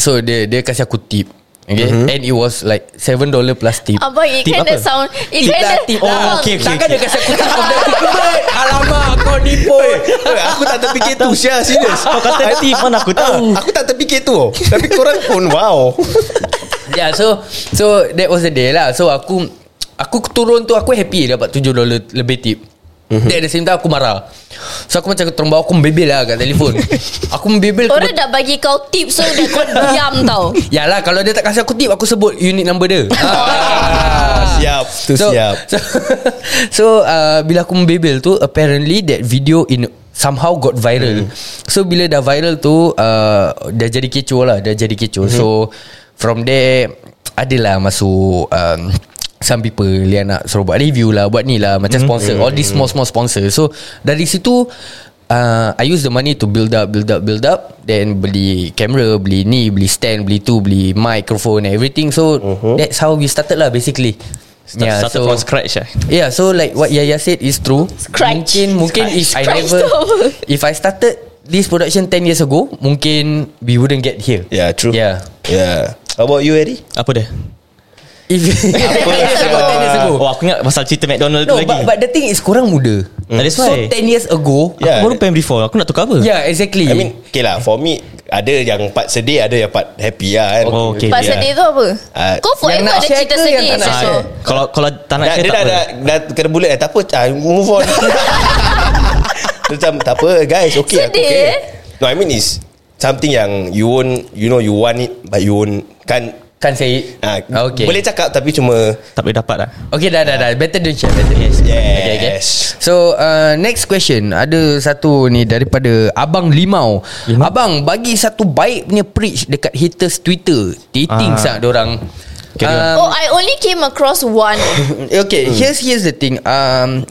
So dia dia kasih aku tip Okay
Mhm.
mm-hmm. And it was like $7 plus tip
Abang, it
Tip
kind of
apa?
sound... It kind
lah,
of...
tip
Oh,
lah.
okay, okay,
Takkan
okay.
dia kasi aku tip Kau dah aku kebet Alamak kau ni pun
Eh, Aku tak terfikir tu Syah serius
Kau kata tip Mana aku tahu
Aku tak terfikir tu Tapi korang pun wow
Yeah Ya, so So that was the day lah So aku Aku turun tu Aku happy dapat 7 dolar lebih tip mm-hmm. Then at the same time aku marah So aku macam terbang Aku membebel lah kat telefon Aku membebel
Orang dah bagi kau tip so dah kau diam tau.
Yalah lah, kalau dia tak kasih aku tip Aku sebut unit number dia ah.
Siap Tu
so,
siap
So, so uh, bila aku membebel tu apparently that video in somehow got viral. Mm. So bila dah viral tu uh, dah jadi kecoh lah, dah jadi kecoh. Mm-hmm. So From there Adalah masuk um, Some people yang nak suruh buat review lah Buat ni lah Macam sponsor All these small small sponsor So dari situ uh, I use the money to build up Build up build up Then beli camera Beli ni Beli stand Beli tu Beli microphone and everything So that's how we started lah basically
Start, yeah,
Ya,
started so, from scratch lah
Yeah, so like what Yaya said is true.
Scratch.
Mungkin mungkin if I
Scratch
never
tu apa?
if I started this production 10 years ago, mungkin we wouldn't get here.
Yeah, true.
Yeah.
Yeah. How about you, Eddie?
Apa dia?
If 10 years ago, 10 years ago.
Oh aku ingat pasal cerita
No,
McDonald tu lagi
but, but the thing is korang muda.
Mm. That's
So
why.
10 years ago.
Aku
Yeah. Ya.
baru PM before Aku nak tukar apa?
Yeah, exactly.
I mean, okay lah. For me, ada yang part sedih, ada yang part happy lah kan.
Oh, okay.
Pak
Yeah.
sedih tu apa?
Ah,
Kau forever
yang nak
ada
share
cerita
ke yang
sedih
tak nak
Sasu.
share?
Kalau kalau tak nak
Dah,
share
dia
tak
dah,
apa
dah, dah, kena bullet dah. Tak apa, ah, move on. Dia Macam tak apa guys, okay. aku
Sedih,
okay.
eh?
No, I mean is something yang you won't, you know, you want it, but you won't, kan,
Can't say it.
ah,
okay.
boleh cakap tapi cuma,
Tak boleh dapat lah
Okay dah dah dah Better don't share Better don't share
Yes.
okay, okay. So uh, next question Ada satu ni Daripada Abang Limau Abang bagi satu baik punya preach Dekat haters Twitter Dating
Ah.
sangat dorang
Carry on. Hmm.
um,
Oh, I only came across one. Oh.
Okay here's here's the thing um,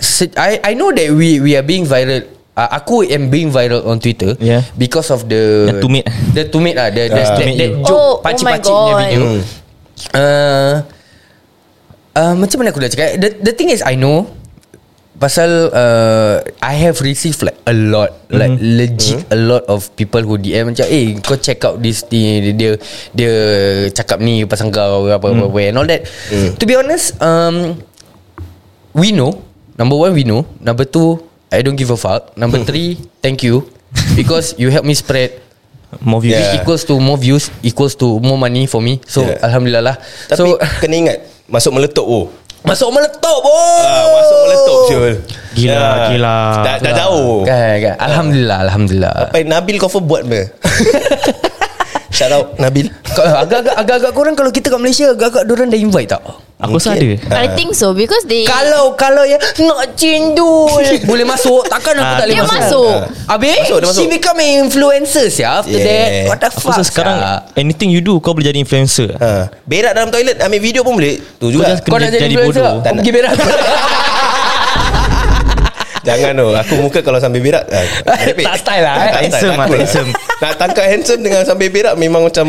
se- I I know that we we are being viral Uh, aku am being viral on Twitter
Yeah.
because of the
The tumit. Uh,
the tumit lah the, the,
Ah.
that,
Tumit
that
you.
joke
Oh, oh my
pacik-pacik punya
God.
video.
Hmm.
Uh, uh, macam mana aku nak cakap? The the thing is I know pasal uh, I have received like a lot
Mhm.
like legit a lot of people who DM macam eh kau check out this thing dia dia, dia cakap ni pasal kau apa
Mhm.
apa, apa and all that. To be honest um we know number one we know number two I don't give a fuck number
Mhm.
three thank you because you help me spread
More views
Which
Yeah.
equals to more views Equals to more money for me So
Yeah.
Alhamdulillah lah
tapi
So
kena ingat, masuk meletup oh.
Masuk meletup bro
Ah, masuk meletup Syul
Gila, gila.
Dah, dah jauh
kan, kan. Alhamdulillah Alhamdulillah
Sampai Nabil kau pun buat me Shout out Nabil
Kau- Agak-agak Agak-agak korang Kalau kita kat Malaysia Agak-agak dorang dah invite tak
Aku rasa
Mungkin.
ada
I think so because they
Ah. Kalau Kalau ya Nak cendol Boleh masuk Takkan aku
Ah,
tak boleh
dia
masuk
masuk.
Habis
Masuk, dia masuk.
She become an influencer sia After
Yeah.
that What the
Aku
fuck
rasa sekarang
sia.
Anything you do Kau boleh jadi influencer
ha. Berak dalam toilet Ambil video pun boleh Tu
Kau
juga
just-
Kau nak jadi
jadi
influencer tak?
bodoh.
Kau pergi berak
Jangan tu Aku muka kalau sambil berak ah, merepek.
Tak style lah, eh.
Tak style,
Handsome
takut
lah,
lah.
handsome.
Nak tangkap handsome Dengan sambil berak Memang macam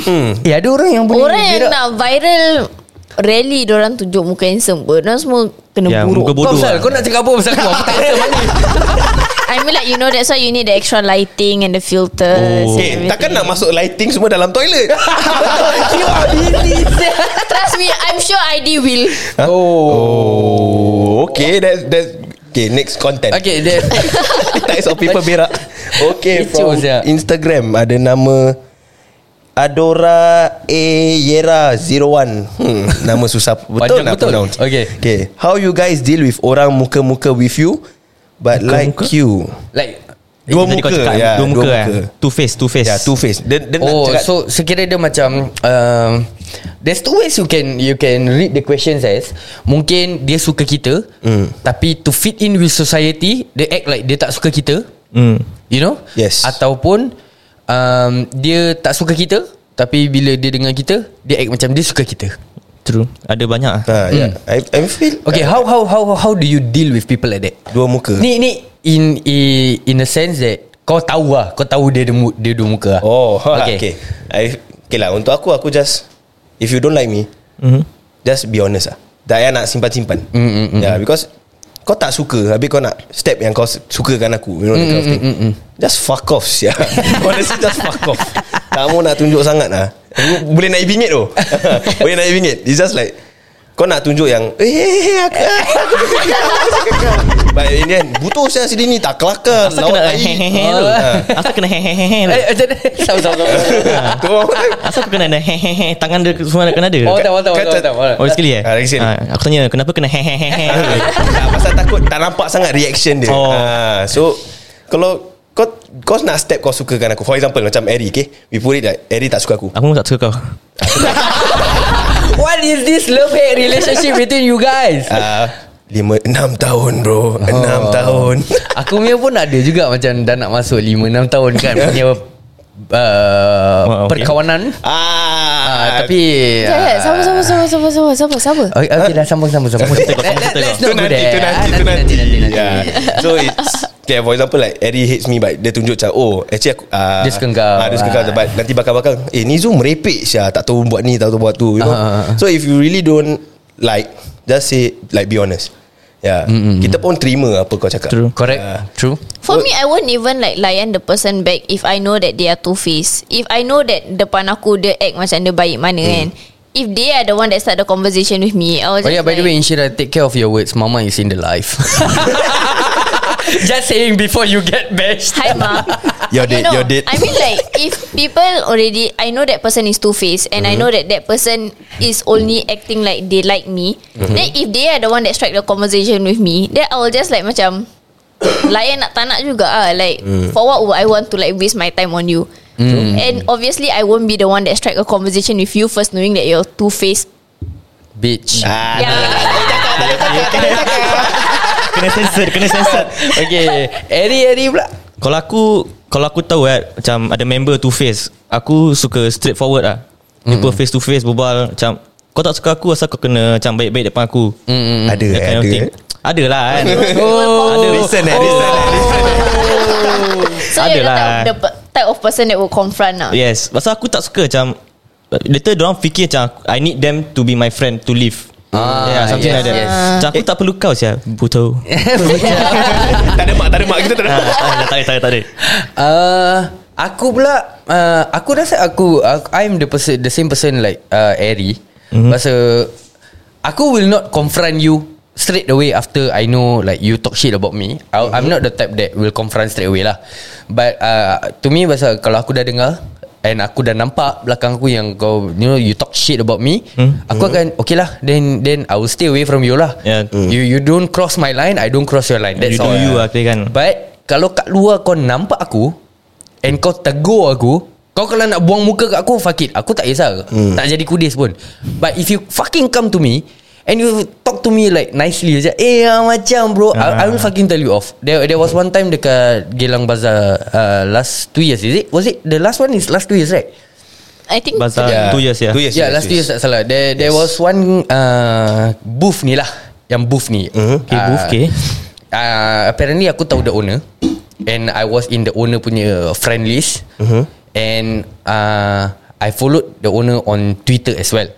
hmm,
Ya ada orang yang boleh
orang yang
berak.
nak viral rally orang tunjuk muka handsome pun. Orang semua kena
Ya,
buruk.
muka
Kau
bodoh
pasal
lah.
Kau nak cakap apa pasal aku Aku tak handsome mana
I mean like you know that's why you need the extra lighting and the filters. and
Oh.
okay, eh,
everything.
Takkan nak masuk lighting Semua dalam toilet Ha?
You are busy sia.
Trust me, I'm sure ID will.
Oh Okay that's, that's Okay next content
Okay that,
Types of people berak Okay
Kecoh
from
siap.
Instagram Ada nama Adora Eyera 01 hmm, Nama susah Betul
Panjang
nak
betul.
pronounce
Okay.
okay How you guys deal with Orang muka-muka with you But like
Muka-muka?
you
Like
Eh,
Dua
Tadi kau
muka,
cakap,
ya,
Dua muka,
dua
eh.
muka.
Two face Two face
Ya yeah, two face Dia, dia
Oh
nak cakap
so Sekiranya dia macam um, There's two ways you can You can read the questions as Mungkin dia suka kita mm.
Hmm.
Tapi to fit in with society Dia act like dia tak suka kita
Hmm.
You know
Yes.
Ataupun um, Dia tak suka kita Tapi bila dia dengan kita Dia act macam dia suka kita
True Ada banyak lah.
ha, yeah. I, I feel
Okay how how how how do you deal with people like that
Dua muka
Ni ni in i- in a sense that kau tahu lah, kau tahu dia ada mu- dia dua muka lah.
Oh okay. okay I, Okay lah Untuk aku aku just If you don't like me
Mhm.
Just be honest lah Tak payah nak simpan-simpan mm, mm, mm, yeah, Because Kau tak suka Habis kau nak Step yang kau sukakan aku You know mm, that kind of thing mm, mm, mm. Just fuck off yeah. Honestly just fuck off Tak mau nak tunjuk sangat lah Aku Boleh naik bingit tu Boleh naik bingit It's just like Kau nak tunjuk yang Eh eh, eh aku Aku suka kau, aku suka kau." But in the end Butuh saya sini ni Tak kelakar
Asal
Lawan
kena
air. Ah.
hehehe tu Asal kena hehehe tu
Eh, macam mana? Sama sama.
Tu orang kata,
Asal aku kena ada hehehe Tangan dia semua kena ada
Oh, tak, tak, tak, tak, tak.
Oh sekali eh
Ah, lagi sekali.
Ah, Aku tanya Kenapa kena hehehe
tak, pasal takut tak nampak sangat reaction dia.
Oh.
Ha, so kalau kau kau nak step kau sukakan aku. For example macam Eri, okay? We put it like Eri tak suka aku.
Aku pun tak suka kau
What is this love hate relationship between you guys?
Ah, lima enam tahun bro, enam tahun.
Aku punya pun ada juga macam dah nak masuk 5 6 tahun kan punya uh,
Wow, okay.
perkawanan
Ah,
uh, tapi
Sekejap, sekejap. Sama, sama, sama, sama, sama, sama, sama.
Okay, okay dah sambung sambung sambung.
Kita tengok, kita tengok.
Let's
Itu
not go
nanti,
there.
itu
Ah,
nanti, itu nanti, Yeah. So it's Okay, for example like Eddie hates me But dia tunjuk macam Oh actually aku uh,
Dia suka kau.
uh, Dia suka kau
Ah.
But nanti bakal-bakal Eh ni Zoom merepek Syah Tak tahu buat ni Tak tahu buat tu You know
Ah.
So if you really don't Like Just say Like be honest Yeah Kita pun terima Apa kau cakap
True.
Correct.
Ah.
Mm, True.
For me, I won't even like layan the person back if I know that they are two-faced. If I know that depan aku dia act macam dia baik mana kan. If they are the one that start the conversation with me, I was
Hmm. Oh
just
yeah, by
like,
the way, Inshira, take care of your words. Mama is in the life. Just saying before you get bashed.
Hi ma
You're dead,
You know,
you're dead.
I mean like If people already I know that person is two-faced And
Mm-hmm.
I know that that person Is only acting like They like me
Mm-hmm.
Then if they are the one That strike the conversation with me Then I will just like macam Layan nak tak nak juga ah Like
Mm.
For what would I want to like Waste my time on you And obviously I won't be the one That strike a conversation with you First knowing that you're two-faced
Bitch.
ah,
Yeah
Kena sensor Kena sensor
Okay. Eri Eri pula.
Kalau aku Kalau aku tahu kan Macam ada member two face Aku suka straight forward lah Jumpa face to face Berbual macam Kau tak suka aku Asal kau kena Macam baik-baik depan aku
Mm-mm.
Ada
That kind
eh,
of
Ada
thing.
eh.
Ada lah kan
Oh.
Ada
Listen eh Listen eh
So you're the
Adalah.
type, of, the pe- type of person That will confront lah
Yes Pasal aku tak suka macam Later diorang fikir macam I need them to be my friend To live
Ah,
yeah, Something
yes,
like that
yes.
Macam aku tak perlu kau siapa Puto
Tak ada mak Tak ada mak Kita tak ada mak
Ah, Tak ada tak ada tak ada
Uh, aku pula uh, aku rasa aku uh, I'm the person the same person like uh, Eri. Mm-hmm.
Mhm.
Pasal aku will not confront you straight away after I know like you talk shit about me. I, mm-hmm. I'm
Mhm.
not the type that will confront straight away lah. But uh, to me pasal kalau aku dah dengar and aku dah nampak belakang aku yang kau you know you talk shit about me, mm-hmm. aku akan okay lah then then I will stay away from you lah.
Mhm. Yeah. Mm.
You you don't cross my line, I don't cross your line. That's
You do
all.
you lah kira kan
But Kalau kat luar kau nampak aku And kau tegur aku Kau kalau nak buang muka kat aku Fuck it Aku tak kisah hmm. Tak jadi kudis pun But if you fucking come to me And you talk to me like nicely macam, Eh ah, macam bro I, I
Ah.
will fucking tell you off There there was one time dekat Geylang Bazaar uh, Last 2 years is it? Was it? The last one is last 2 years right?
I think
Pasal
Yeah.
two years ya
Two years.
Yeah, last two years tak salah. There there was one uh, booth ni lah, yang booth ni.
Mm-hmm.
Uh-huh.
Okay, booth, okay.
Uh, apparently aku tahu the owner and I was in the owner punya friend list. Uh-huh. And uh, I followed the owner on Twitter as well.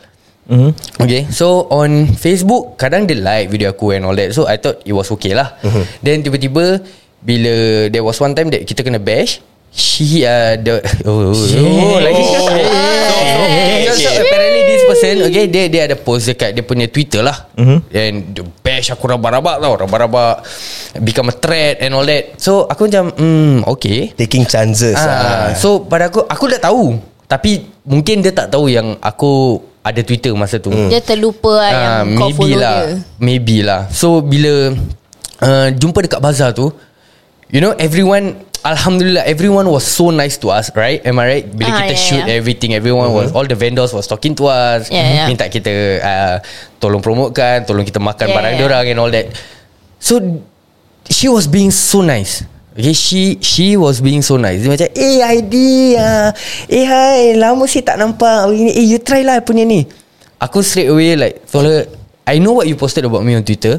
Mhm.
Okay So on Facebook Kadang dia like video aku And all that So I thought it was okay lah mm-hmm. Then tiba-tiba Bila There was one time That kita kena bash She uh, the, oh, oh, oh, like, oh,
shit.
So, so apparently this person Okay dia dia ada post dekat Dia punya Twitter lah mm-hmm. And dia bash aku rabak-rabak tau Rabak-rabak Become a threat And all that So aku macam Hmm okay
Taking chances
Ah,
ah.
so pada aku aku dah tahu tapi mungkin dia tak tahu yang aku ada Twitter masa tu.
Dia terlupa lah Yang
Ah,
kau
maybe
follow
lah.
dia
Maybe lah. So bila uh, jumpa dekat bazar tu, you know everyone Alhamdulillah everyone was so nice to us right am I right bila
Ah,
kita
yeah,
shoot
yeah.
everything everyone was all the vendors was talking to us Mm-hmm.
Yeah, yeah.
minta kita uh, tolong promotekan tolong kita makan
Yeah,
barang
yeah.
dia orang and all that so she was being so nice Okay, she she was being so nice. Dia macam, eh Heidi, ah. eh hai, lama sih tak nampak. Eh, you try lah punya ni. Aku straight away like, told her, I know what you posted about me on Twitter.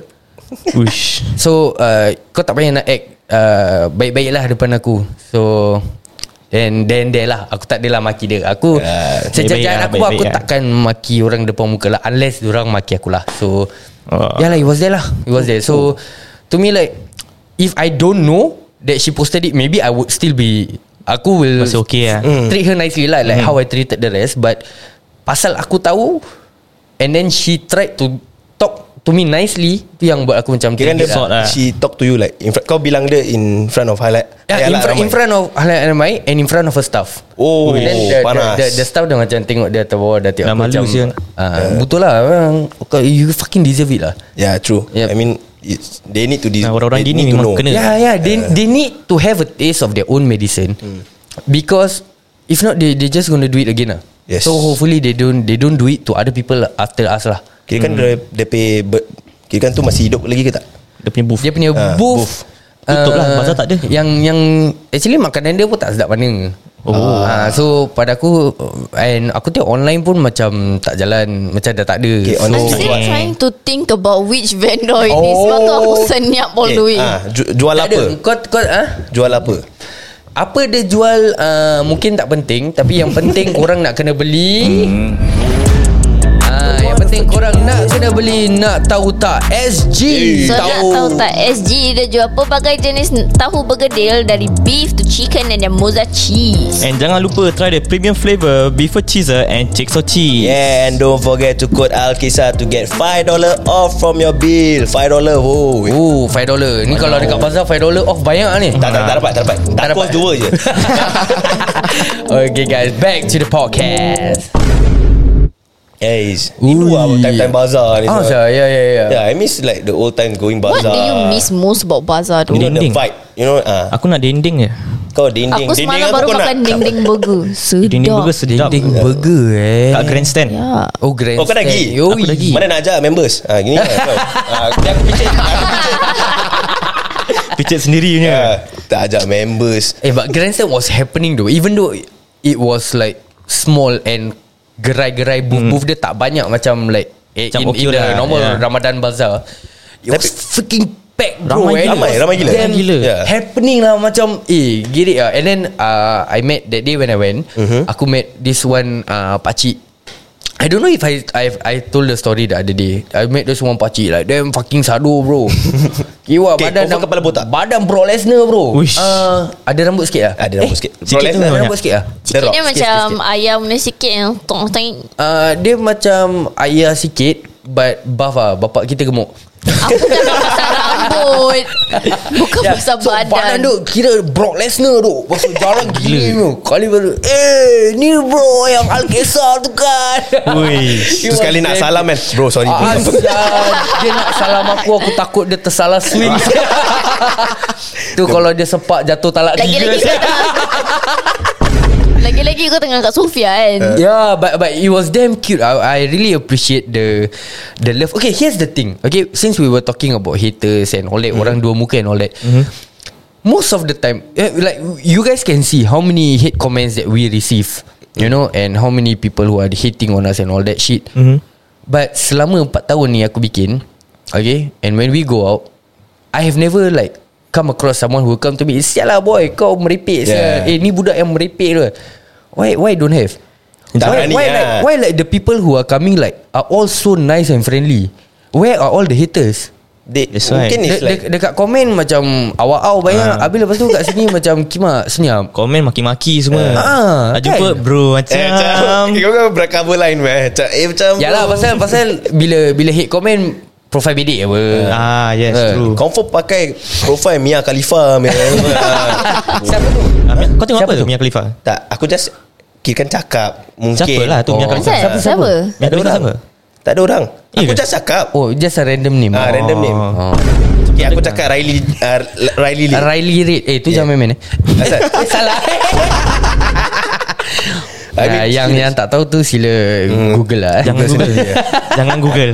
Uish
So, uh, kau tak payah nak act uh, baik-baik lah depan aku. So, then then there lah. Aku tak adalah maki dia. Aku,
Ya,
yeah, sejajaran
baik-baik lah,
aku, aku
baik-baik lah.
takkan maki orang depan muka lah. Unless orang maki aku lah. So,
Oh.
yeah lah, it was there lah. It was there. So, to me like, if I don't know that she posted it, maybe I would still be, aku will
Masih okay lah. Mm-hmm.
Mm. Treat her nicely lah Like how I treated the rest But Pasal aku tahu And then she tried to Talk to me nicely Tu yang buat aku macam
Kira dia
terdik lah.
sort lah.
She talk to you like in front, Kau bilang dia In front of highlight
Yeah, in, front, in front of Halal Anamai And in front of her staff
lah, Oh,
And then the, the,
panas.
the, the staff dia macam Tengok dia atas bawah Dia tengok
Dah
aku
malu
macam
sial.
ah,
Eh.
Betul lah orang, kau- You fucking deserve it lah
Yeah Ya, true
Yep.
I mean it's, They need to dis-
Nah, orang-orang
they
gini
need to
memang
know.
kena.
Yeah, yeah.
Eh.
They they need to have a taste of their own medicine
Hmm.
because if not, they they just gonna do it again lah.
Yes.
So hopefully they don't they don't do it to other people after us lah.
Kira kan dia, dia pay ber- Kira kan tu masih hidup lagi ke tak
Dia punya booth
Dia punya
Ah,
booth.
booth.
Tutup lah,
ah,
pasal tak ada.
Yang yang actually makanan dia pun tak sedap mana. Oh. Uh, so pada aku and aku tengok online pun macam tak jalan, macam dah tak ada.
Okay,
so,
online
I'm
Oh,
still
jual.
trying to think about which vendor it is Sebab tu aku senyap all the way
ah, ju- jual
tak
apa?
ada. Kau kau ah?
Jual apa?
Apa dia jual uh, mungkin tak penting tapi yang penting korang nak kena beli.
Hmm.
Ah, yang penting korang nak kena beli Nak tahu tak SG
So nak tahu tak SG dia jual pelbagai jenis tahu bergedil Dari beef to chicken and then mozza cheese
And jangan lupa try the premium flavour beef cheeser and chicks or cheese.
Yeah, and don't forget to code Alkisa to get $5 off from your bill. $5, oh.
Oh 5 dollar Ni kalau dekat pasar 5 dollar off banyak ni
Tak, tak, tak dapat, tak dapat. Tak dapat. dua je.
Okay guys Back to the podcast
Hey, rindu lah
Ui.
time-time bazar ni.
Ah saya
semua.
ya ya ya
Yeah, I miss like the old time going
What
bazaar.
do you miss most about bazaar tu?
You know the
Dinding.
vibe. You know, ah,
Aku nak dinding je.
kau dinding.
Aku semalam
apa
baru
kau nak?
makan dinding burger Sedap
Dinding burger sedap.
Dinding burger eh
Kat grandstand.
Ya
Oh grand
Oh, kau dah pergi?
Yo,
Aku dah pergi.
Mana nak ajak members? Ah, gini lah kau. Ah, dia aku picit. Aku picit.
Picit sendiri punya.
Ah, tak ajak members.
Eh but grandstand was happening though Even though It was like Small and Gerai-gerai Booth-booth dia tak banyak Macam like eh,
Hmm.
In,
Macam okay
in the
lah,
normal
yeah.
Ramadan bazaar It was freaking packed bro
Ramai
and
gila.
it was
Ramai gila.
damn
Ramai gila. Yeah.
Happening lah macam Eh get it lah And then uh, I met that day when I went
Mhm.
Aku met this one uh, Pakcik I don't know if I I I told the story the other day. I met this one pakcik like damn fucking sado bro. Kiwa
Okay,
badan
confirm kepala botak.
Badan Brock Lesnar bro.
Uish.
Uh, ada rambut sikit lah.
Ah, Ada rambut sikit.
sikit
Rolex
tu
lah.
Ada
Banyak.
rambut sikit lah
The Rock.
Sikit dia macam ayam ni sikit yang tong tong.
uh, Dia macam ayah sikit But buff lah Bapak kita gemuk
Aku bukan pasal rambut. Bukan pasal
Ya. So
badan.
badan tu Kira Brock Lesnar tu Pasal jalan gila tu Kali baru Eh ni bro Yang Alkesar tu kan
Ui.
Terus sekali nak salam kan. Bro, sorry. bro.
Ah, sial. dia nak salam aku Aku takut dia tersalah swing Tu kalau dia sepak Jatuh talak
Lagi-lagi kau
tiga
tengah Lagi-lagi kau tengah kat Sofia kan
Yeah, but but it was damn cute. I, I really appreciate the the love. Okay, here's the thing. Okay, since we were talking about haters and all that, orang dua muka and all that. Most of the time, eh, like you guys can see how many hate comments that we receive, you know, and how many people who are hating on us and all that shit. But selama 4 tahun ni aku bikin, okay, and when we go out, I have never like come across someone who come to me, sial lah boy, kau merepek yeah.
Yeah.
sial. Eh ni budak yang merepek tu. Why why don't have?
Tak
why,
berani
why,
lah.
like, why like the people who are coming like are all so nice and friendly? Where are all the haters?
They,
That's why.
mungkin
De,
it's like Ah.
de, dekat komen macam awak-awak banyak uh. Habis lepas tu kat sini macam Kima senyap
Komen maki-maki semua.
Ah,
Ah,
kan?
jumpa bro
Eh, macam
macam.
Kau kan bercover line meh Macam Eh macam
Yalah Ya lah, pasal pasal bila bila hate komen profile bedek apa.
Ah, yes,
Eh.
true.
Confirm pakai Profile Mia Khalifa meh.
Siapa tu?
Ah, Mi- Kau tengok
Siapa
apa
tu?
tu Mia Khalifa?
Tak Aku just Kira kan cakap Mungkin
Siapa lah tu
Oh.
Mia Khalifa?
Siapa?
Siapa?
Siapa?
Mia Khalifa siapa?
Tak ada orang
Eh
Aku
ke?
just cakap
Oh, just a random name.
Ah, random name.
Oh.
Okay, aku cakap Riley uh, Riley Lee.
Riley Reid. Eh, tu
Ya.
jangan main-main eh.
Asal?
Eh, Salah.
I mean,
Nah, yang yang tak tahu tu sila Google lah. eh.
Hmm. Jangan Google. Jangan Google.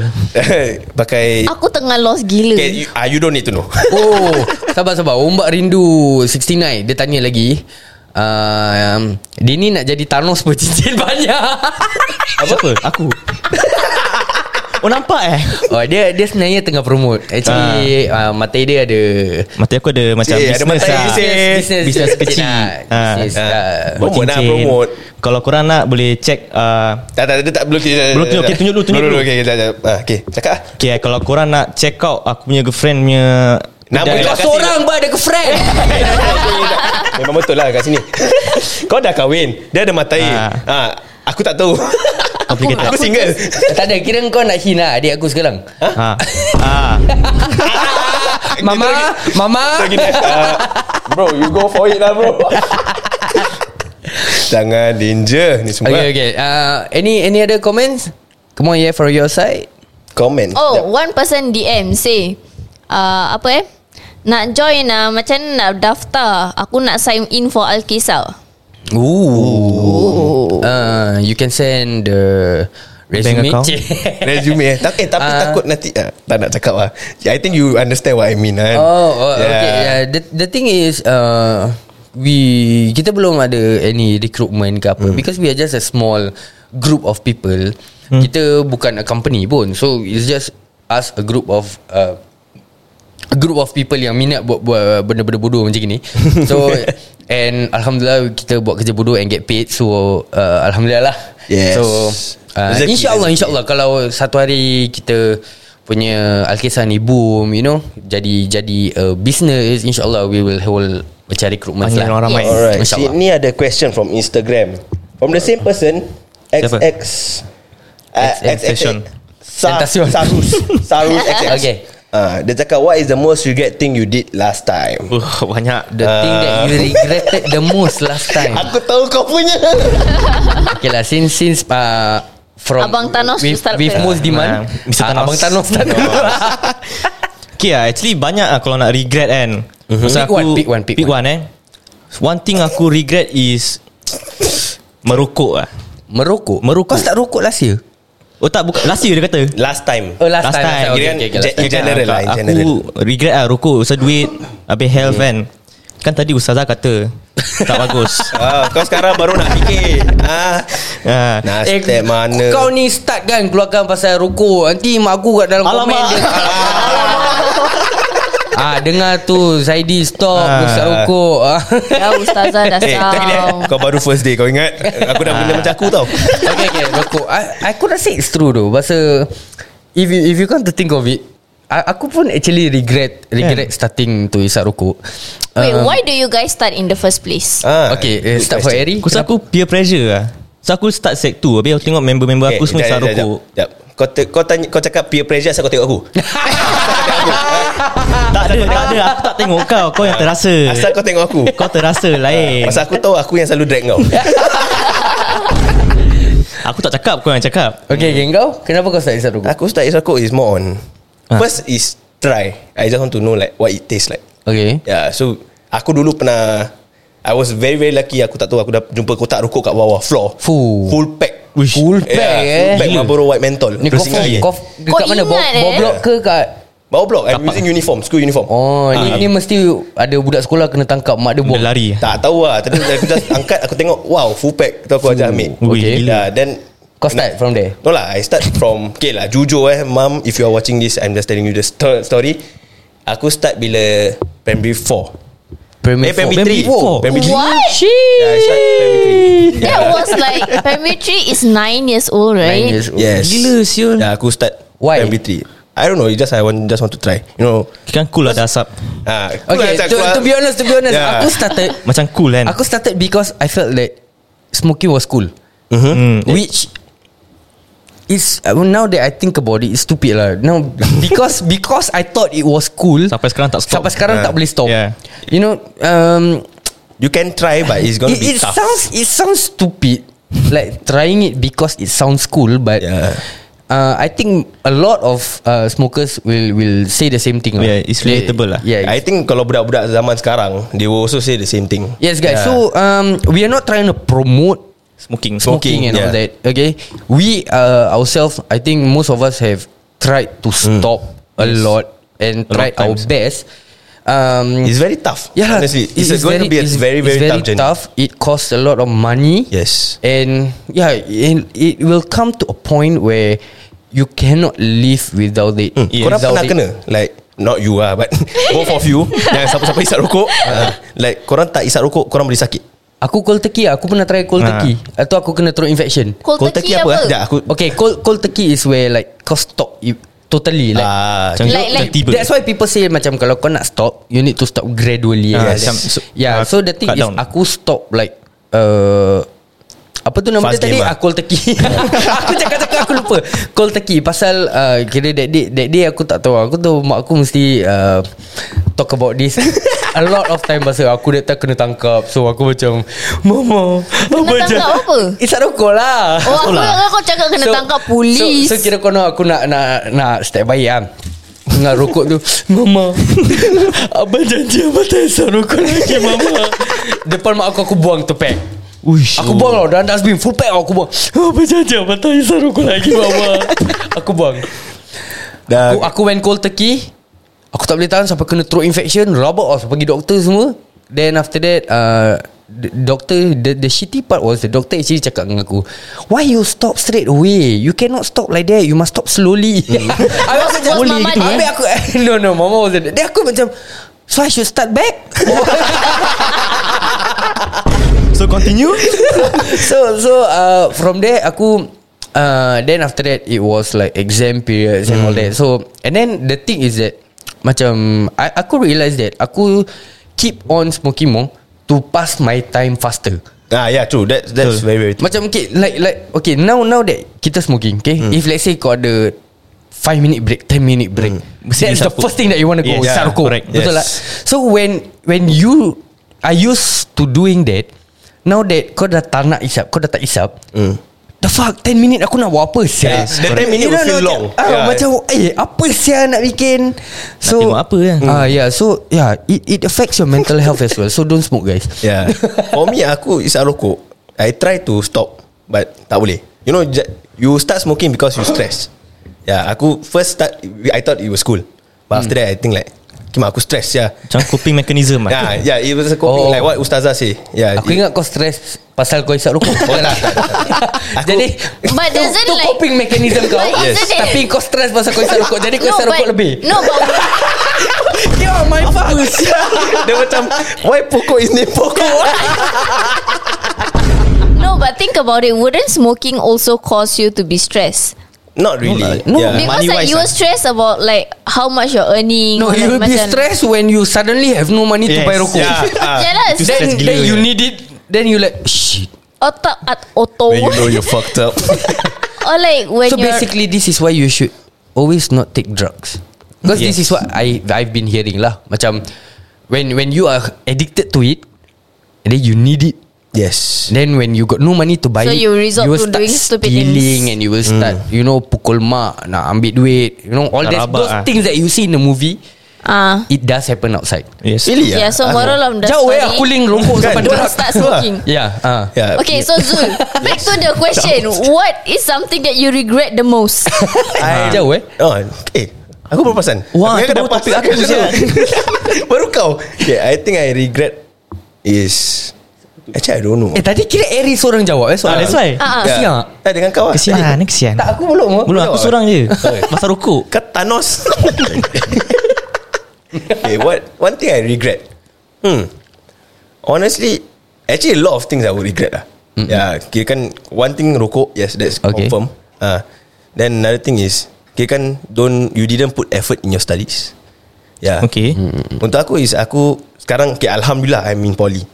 Pakai
Aku tengah lost gila
okay, you, ah, you don't need to know.
Oh Sabar sabar Ombak Rindu 69 Dia tanya lagi uh, um, Dia ni nak jadi Thanos pun cincin banyak
Siapa? Aku. Oh nampak eh
Oh dia dia sebenarnya tengah promote Actually uh,
Ah.
Matai dia ada
Mata aku ada macam
Cik, ada
business
mata
lah
business.
Business, kecil
lah.
Ah.
Bisnes
Ah.
lah.
Buat Promote lah,
cincin.
promote.
Kalau korang nak Boleh check uh,
tak tak dia tak belum
Belum tunjuk, okay, tunjuk dulu, tunjuk dulu.
Okay, okay, okay, okay, cakap ah.
Okay kalau korang nak Check out Aku punya girlfriend punya
Nama
kedai.
dia
Kau seorang bah ada girlfriend
Memang betul lah kat sini. Kau dah kahwin, dia ada matai.
Ah.
Ah, aku tak tahu. aku,
Complicated.
aku single.
Tak ada kira kau nak hina adik aku sekarang
ha. ha.
Mama Mama
Lagi nice. Ah, bro, you go for it lah bro. Jangan danger ni semua.
Okay
lah.
okay uh, Any any other comments Come on yeah for your side
Comment.
Oh one person DM say uh, Apa eh Nak join lah Macam mana nak daftar Aku nak sign in for Alkisah
Ooh. Uh, you can send the resume.
account?
Resume eh. Tak, eh tapi
Ah.
takut nanti ah, tak nak cakap lah. I think you understand what I mean kan.
oh, oh yeah. okay. Yeah. The, the thing is, uh, we kita belum ada any recruitment ke apa
Hmm.
mm. because we are just a small group of people.
Hmm.
Mm. Kita bukan a company pun. So it's just us a group of uh, a group of people yang minat buat buat benda-benda bodoh macam ni. So and alhamdulillah kita buat kerja bodoh and get paid. So uh, alhamdulillah lah.
Yes.
So uh,
Rezeki,
insyaallah
rezeki.
insyaallah kalau satu hari kita punya Alkisah ni boom you know jadi jadi uh, business insyaallah we will hold macam recruitment lah.
Panggil orang ramai.
Alright.
InsyaAllah.
Sini ada question from Instagram. From the same person,
Siapa?
XX uh,
XX Station.
Sa-
Tentacion.
Sarus Sarus XX
Okay.
Ah, Dia cakap What is the most regret thing you did last time
Uh, banyak
The thing that you
Uh.
regretted the most last time.
Aku tahu kau punya
Okay lah, since since uh, from
Abang Thanos
with,
start
with
first.
most demand,
Ah, Mr.
ah,
Thanos.
Abang Thanos start.
Okay lah Actually banyak lah Kalau nak regret kan mm-hmm.
Pick one, pick one, pick
pick one. eh One thing aku regret is Merokok lah
Merokok. Eh,
Merokok.
Kau start rokok last year.
Oh tak bukan Last year dia kata
Last time
Oh last, time. Last time. Okay,
Kira-
okay, okay, last time.
In general lah, in
aku
general. Hmm.
regret lah Rokok usah duit Habis health kan Kan tadi Ustazah kata Tak bagus
ah, Kau sekarang baru nak fikir ah,
Ah.
Nak step mana
Eh, Kau ni start kan keluarkan pasal rokok. Nanti mak aku kat dalam komen
Alamak.
dia. Ah dengar tu Zaidi stop
Ah.
usah rokok. Ah.
Ya ustazah dah
Eh, tadi dia,
sound
kau baru first day Kau ingat Aku dah
Ah.
benda macam aku tau
okay, okay, rokok. I, aku rasa it's true though. Pasal if you, if you come to think of it, I, aku pun actually regret regret yeah. starting to isap rokok.
Wait
Um,
why do you guys start in the first place
ah,
Okay, eh,
good
start for
question.
Harry.
Aku rasa aku peer pressure lah So aku start sec 2 Habis aku tengok member-member aku semua isap
jap, jap, jap,
rokok
jap. Kau, te- kau, tanya, kau cakap peer pressure Asal kau tengok aku
Tak ada, tak ada Aku tak tengok kau Kau yang terasa
Ah, Asal kau tengok aku
Kau terasa lah, eh. lain
Pasal aku tahu Aku yang selalu drag kau
Aku tak cakap Kau yang cakap
Okay, okay, kau kenapa kau start isap rokok?
Aku start is aku is more on
Ha.
Ah.
First is try I just want to know like What it tastes like
Okay.
Yeah so Aku dulu pernah I was very very lucky Aku tak tahu Aku dah jumpa kotak rokok kat bawah Floor
Fuh.
Full pack
Uish. Full pack, eh.
Full pack
Gila.
Marlboro White Menthol
Ni kau form, kau dekat
Kau
mana? Bawa,
ingat,
bawa
eh?
blok ke kat
Bawah blok I'm using uniform School uniform
Oh, ni, ni mesti ada budak sekolah kena tangkap mak dia
Dia
buang.
lari
Tak tahu lah Tapi aku just angkat Aku tengok Wow full pack Tu aku ajak ambil
Ui,
Okay.
gila.
Yeah, then
Kau start from there.
No lah I start from Okay lah jujur eh Mom If you are watching this I'm just telling you the sto- story Aku start bila Primary 4
Primary
Eh primary
four.
four.
3 Primary 3
What
Yeah I start primary
That was like Primary 3 is 9 years old
Nine
right
years
3
old.
Yes Ya.
Gila, siul.
Yeah aku start
Why?
Primary 3 I don't know Just I want just want to try You know
Kan cool lah dah asap
ah,
Okay, to, to be honest, to be honest,
Yeah.
aku started
Macam cool kan
Aku started because I felt that smoking was cool, Mm.
Hmm.
which is uh, now that I think about it, it's stupid lah. Now because because I thought it was cool.
Sampai sekarang tak stop.
Sampai sekarang
Yeah.
tak boleh stop.
Yeah.
You know, um,
You can try But it's gonna
it, it
be tough
sounds it sounds stupid, like trying it because it sounds cool, but.
Yeah.
Uh, I think a lot of uh, smokers will will say the same thing. lah.
Yeah, it's
They-
relatable lah.
Yeah,
I think kalau budak-budak zaman sekarang They will also say the same thing
yes, guys.
Yeah.
So um, we are not trying to promote
Smoking
smoking, and all
yeah.
that. Okay, we uh, ourselves, I think most of us have tried to
Mm.
stop a lot and
lot
tried
of
our
times.
best. Um,
It's very tough
yeah,
Honestly
it-
It's, going to be a
it's-
very very,
it's
tough journey
It costs a lot of money.
Yes
and yeah, and it will come to a point where you cannot live without it.
Yeah, Hmm. Korang
without
pernah kena Like Not you lah But both of you Yang siapa-siapa isap rokok uh, Like korang tak isap rokok Korang boleh sakit
Aku cold turkey lah. Aku pernah try cold
Ah.
turkey Atau aku kena throat infection
Cold turkey
eh?
apa?
Sekejap aku
Okay cold, cold turkey is where like Kau stop you, Totally like
Ah,
Macam
Like- like-
tiba
That's why people say macam kalau kau nak stop, you need to stop gradually.
Ah,
Yeah,
macam so-
yeah.
ah,
so the thing
cut
is
down.
aku stop like uh, apa tu nama
Fast
dia tadi?
game ah.
Ah, cold turkey. aku cakap-cakap aku lupa. Cold turkey pasal uh, kira that day, that day aku tak tahu. Aku tahu mak aku mesti uh, talk about this a lot of time pasal aku that time kena tangkap. So aku macam mama
Kena tangkap apa?
Isap rokok lah.
Oh aku ingat kau cakap kena tangkap polis
So, so kira kau nak aku nak nak nak step baik ah. Dengan rokok tu Mama Abang janji abang tak isap rokok lagi Mama Depan mak aku Aku buang tu pack
Uish.
Aku buang tau Dalam dustbin Full pack aku buang Abang janji abang tak isap rokok lagi Mama Aku buang
Dah
aku, aku went cold turkey Aku tak boleh tahan Sampai kena throat infection Rabak lah Sampai pergi doktor semua Then after that uh, the Doctor the, the shitty part was The doctor actually cakap dengan aku Why you stop straight away You cannot stop like that You must stop slowly mm. Habis aku
Was-
macam
was Mama
gitu, eh?
there?
Habis aku No no mama wasn't there. Then aku macam So I should start back
So continue
so so uh, from there aku uh, then after that it was like exam periods and all that. So and then the thing is that macam I, aku realise that aku keep on smoking more to pass my time faster.
Ah yeah true that that's
Betul.
very very true.
Macam okay like like okay now now that kita smoking okay if let's say kau ada 5 minute break 10 minute break
Mesti
that's the
sarko.
first thing Hmm. that you want to go
Yes.
yeah,
Yeah,
sarko
correct.
betul
Yes.
lah so when when you are used to doing that now that kau dah tak nak isap kau dah tak isap the fuck 10 minute aku nak buat apa sia
Yes, the 10 minute
You know,
will feel
macam-
long.
ah,
Yeah.
macam eh apa sia nak bikin so
tengok apa kan?
ah yeah so yeah it it affects your mental health as well so don't smoke guys
Yeah. For me aku isap rokok. I try to stop but tak boleh. You know ju- you start smoking because you stress. Yeah, aku first start I thought it was cool. But after that I think like Kima aku stress ya.
Macam coping mechanism lah
Yeah, yeah, it was a
Oh.
coping oh. like what ustazah say. Yeah.
Aku ingat kau stress pasal kau isap rokok. lah.
Oh, tak, tak, tak. Aku-
Jadi
But
tu,
doesn't
tu
like-
coping mechanism kau.
But
Yes.
isn't it-
Tapi kau stress pasal kau isap rokok. Jadi kau isap rokok
but,
lebih.
No but
you are my fuck.
Dia macam Why pokok is name pokok
No, but think about it. Wouldn't smoking also cause you to be stressed?
Not really
No,
yeah.
Because like you
lah.
were stressed about like how much you're earning.
No,
or
you
like
will be
macam-
stressed when you suddenly have no money to
Yes.
buy rokok.
Yeah, ah.
Yeah lah,
Itu
Then,
stress gila
then you
kan?
need it. Then you like shit.
Otak at auto.
When you know you fucked up
or like when
so
you're
basically, this is why you should always not take drugs. Because this
Yes.
is what I I've been hearing lah. Macam when when you are addicted to it, and then you need it.
Yes
Then when you got no money to buy
So
it,
you resort
you will
to
start
doing stupid
stealing
things.
and you will start you know pukul mak nak ambil duit you know all
Hmm. Nak
that
rabak
those
ah.
things that you see in the movie
ah
it does happen outside.
Yes
Really
yeah. So moral of the
Jauh
story.
eh aku link rokok
Kan?
sampai
Don't
drug.
start smoking.
Yeah, ah.
Ya,
yeah.
Okay, so Zul, back to the question. What is something that you regret the most?
ah.
I,
Jauh eh?
oh, Okay Aku baru perasan
Wah,
Aku
tu baru
dah
topik
pasang
aku,
kat
Zul.
situ. Baru kau Okay I think I regret Is Actually I don't know
Eh tadi kira Aries seorang jawab eh
Ah,
soalan.
that's why
Ah, ah.
Yeah.
siap.
Tak dengan kau lah
Ah,
Kesian ni kesian
Tak aku belum. oh.
Belum aku
Kau-
seorang je
Sorry.
Pasal rokok
Kau Thanos Okay what One thing I regret Hmm Honestly Actually a lot of things I would regret lah mm-hmm. Yeah Kira kan One thing rokok Yes that's
Okay.
okay. confirm uh, Then another thing is Kira kan Don't You didn't put effort In your studies Yeah
Okay
Untuk aku is Aku Sekarang okay, Alhamdulillah I'm in poly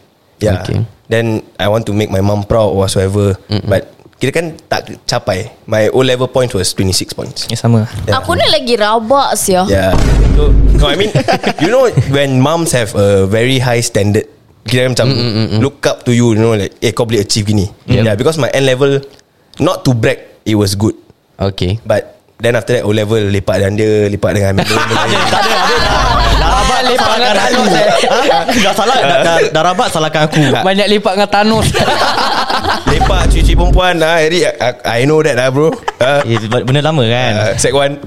Yeah
Okay.
okay. Then I want to make my mum proud Or whatsoever mm-hmm. But Kira kan tak capai My O level points was 26 points
Ya sama
aku ni lagi rabak sia.
Yeah. So, no, I mean, you know, when moms have a very high standard, kira macam mm, mm, mm. look up to you, you know, like, eh, kau boleh achieve gini.
Yep.
Yeah, because my N level, not to brag, it was good.
Okay.
But then after that, O level, lepak dengan dia, lepak dengan Amin.
Tak ada
Abang lepak dengan Thanos. eh.
Ha?
Dah salah dah, dah, dah rabat salahkan aku
Banyak lepak dengan Thanos.
lepak cuci perempuan, ah, Eric, I, I know that lah, bro. Ah,
eh, Benda lama kan
ah, Sec 1.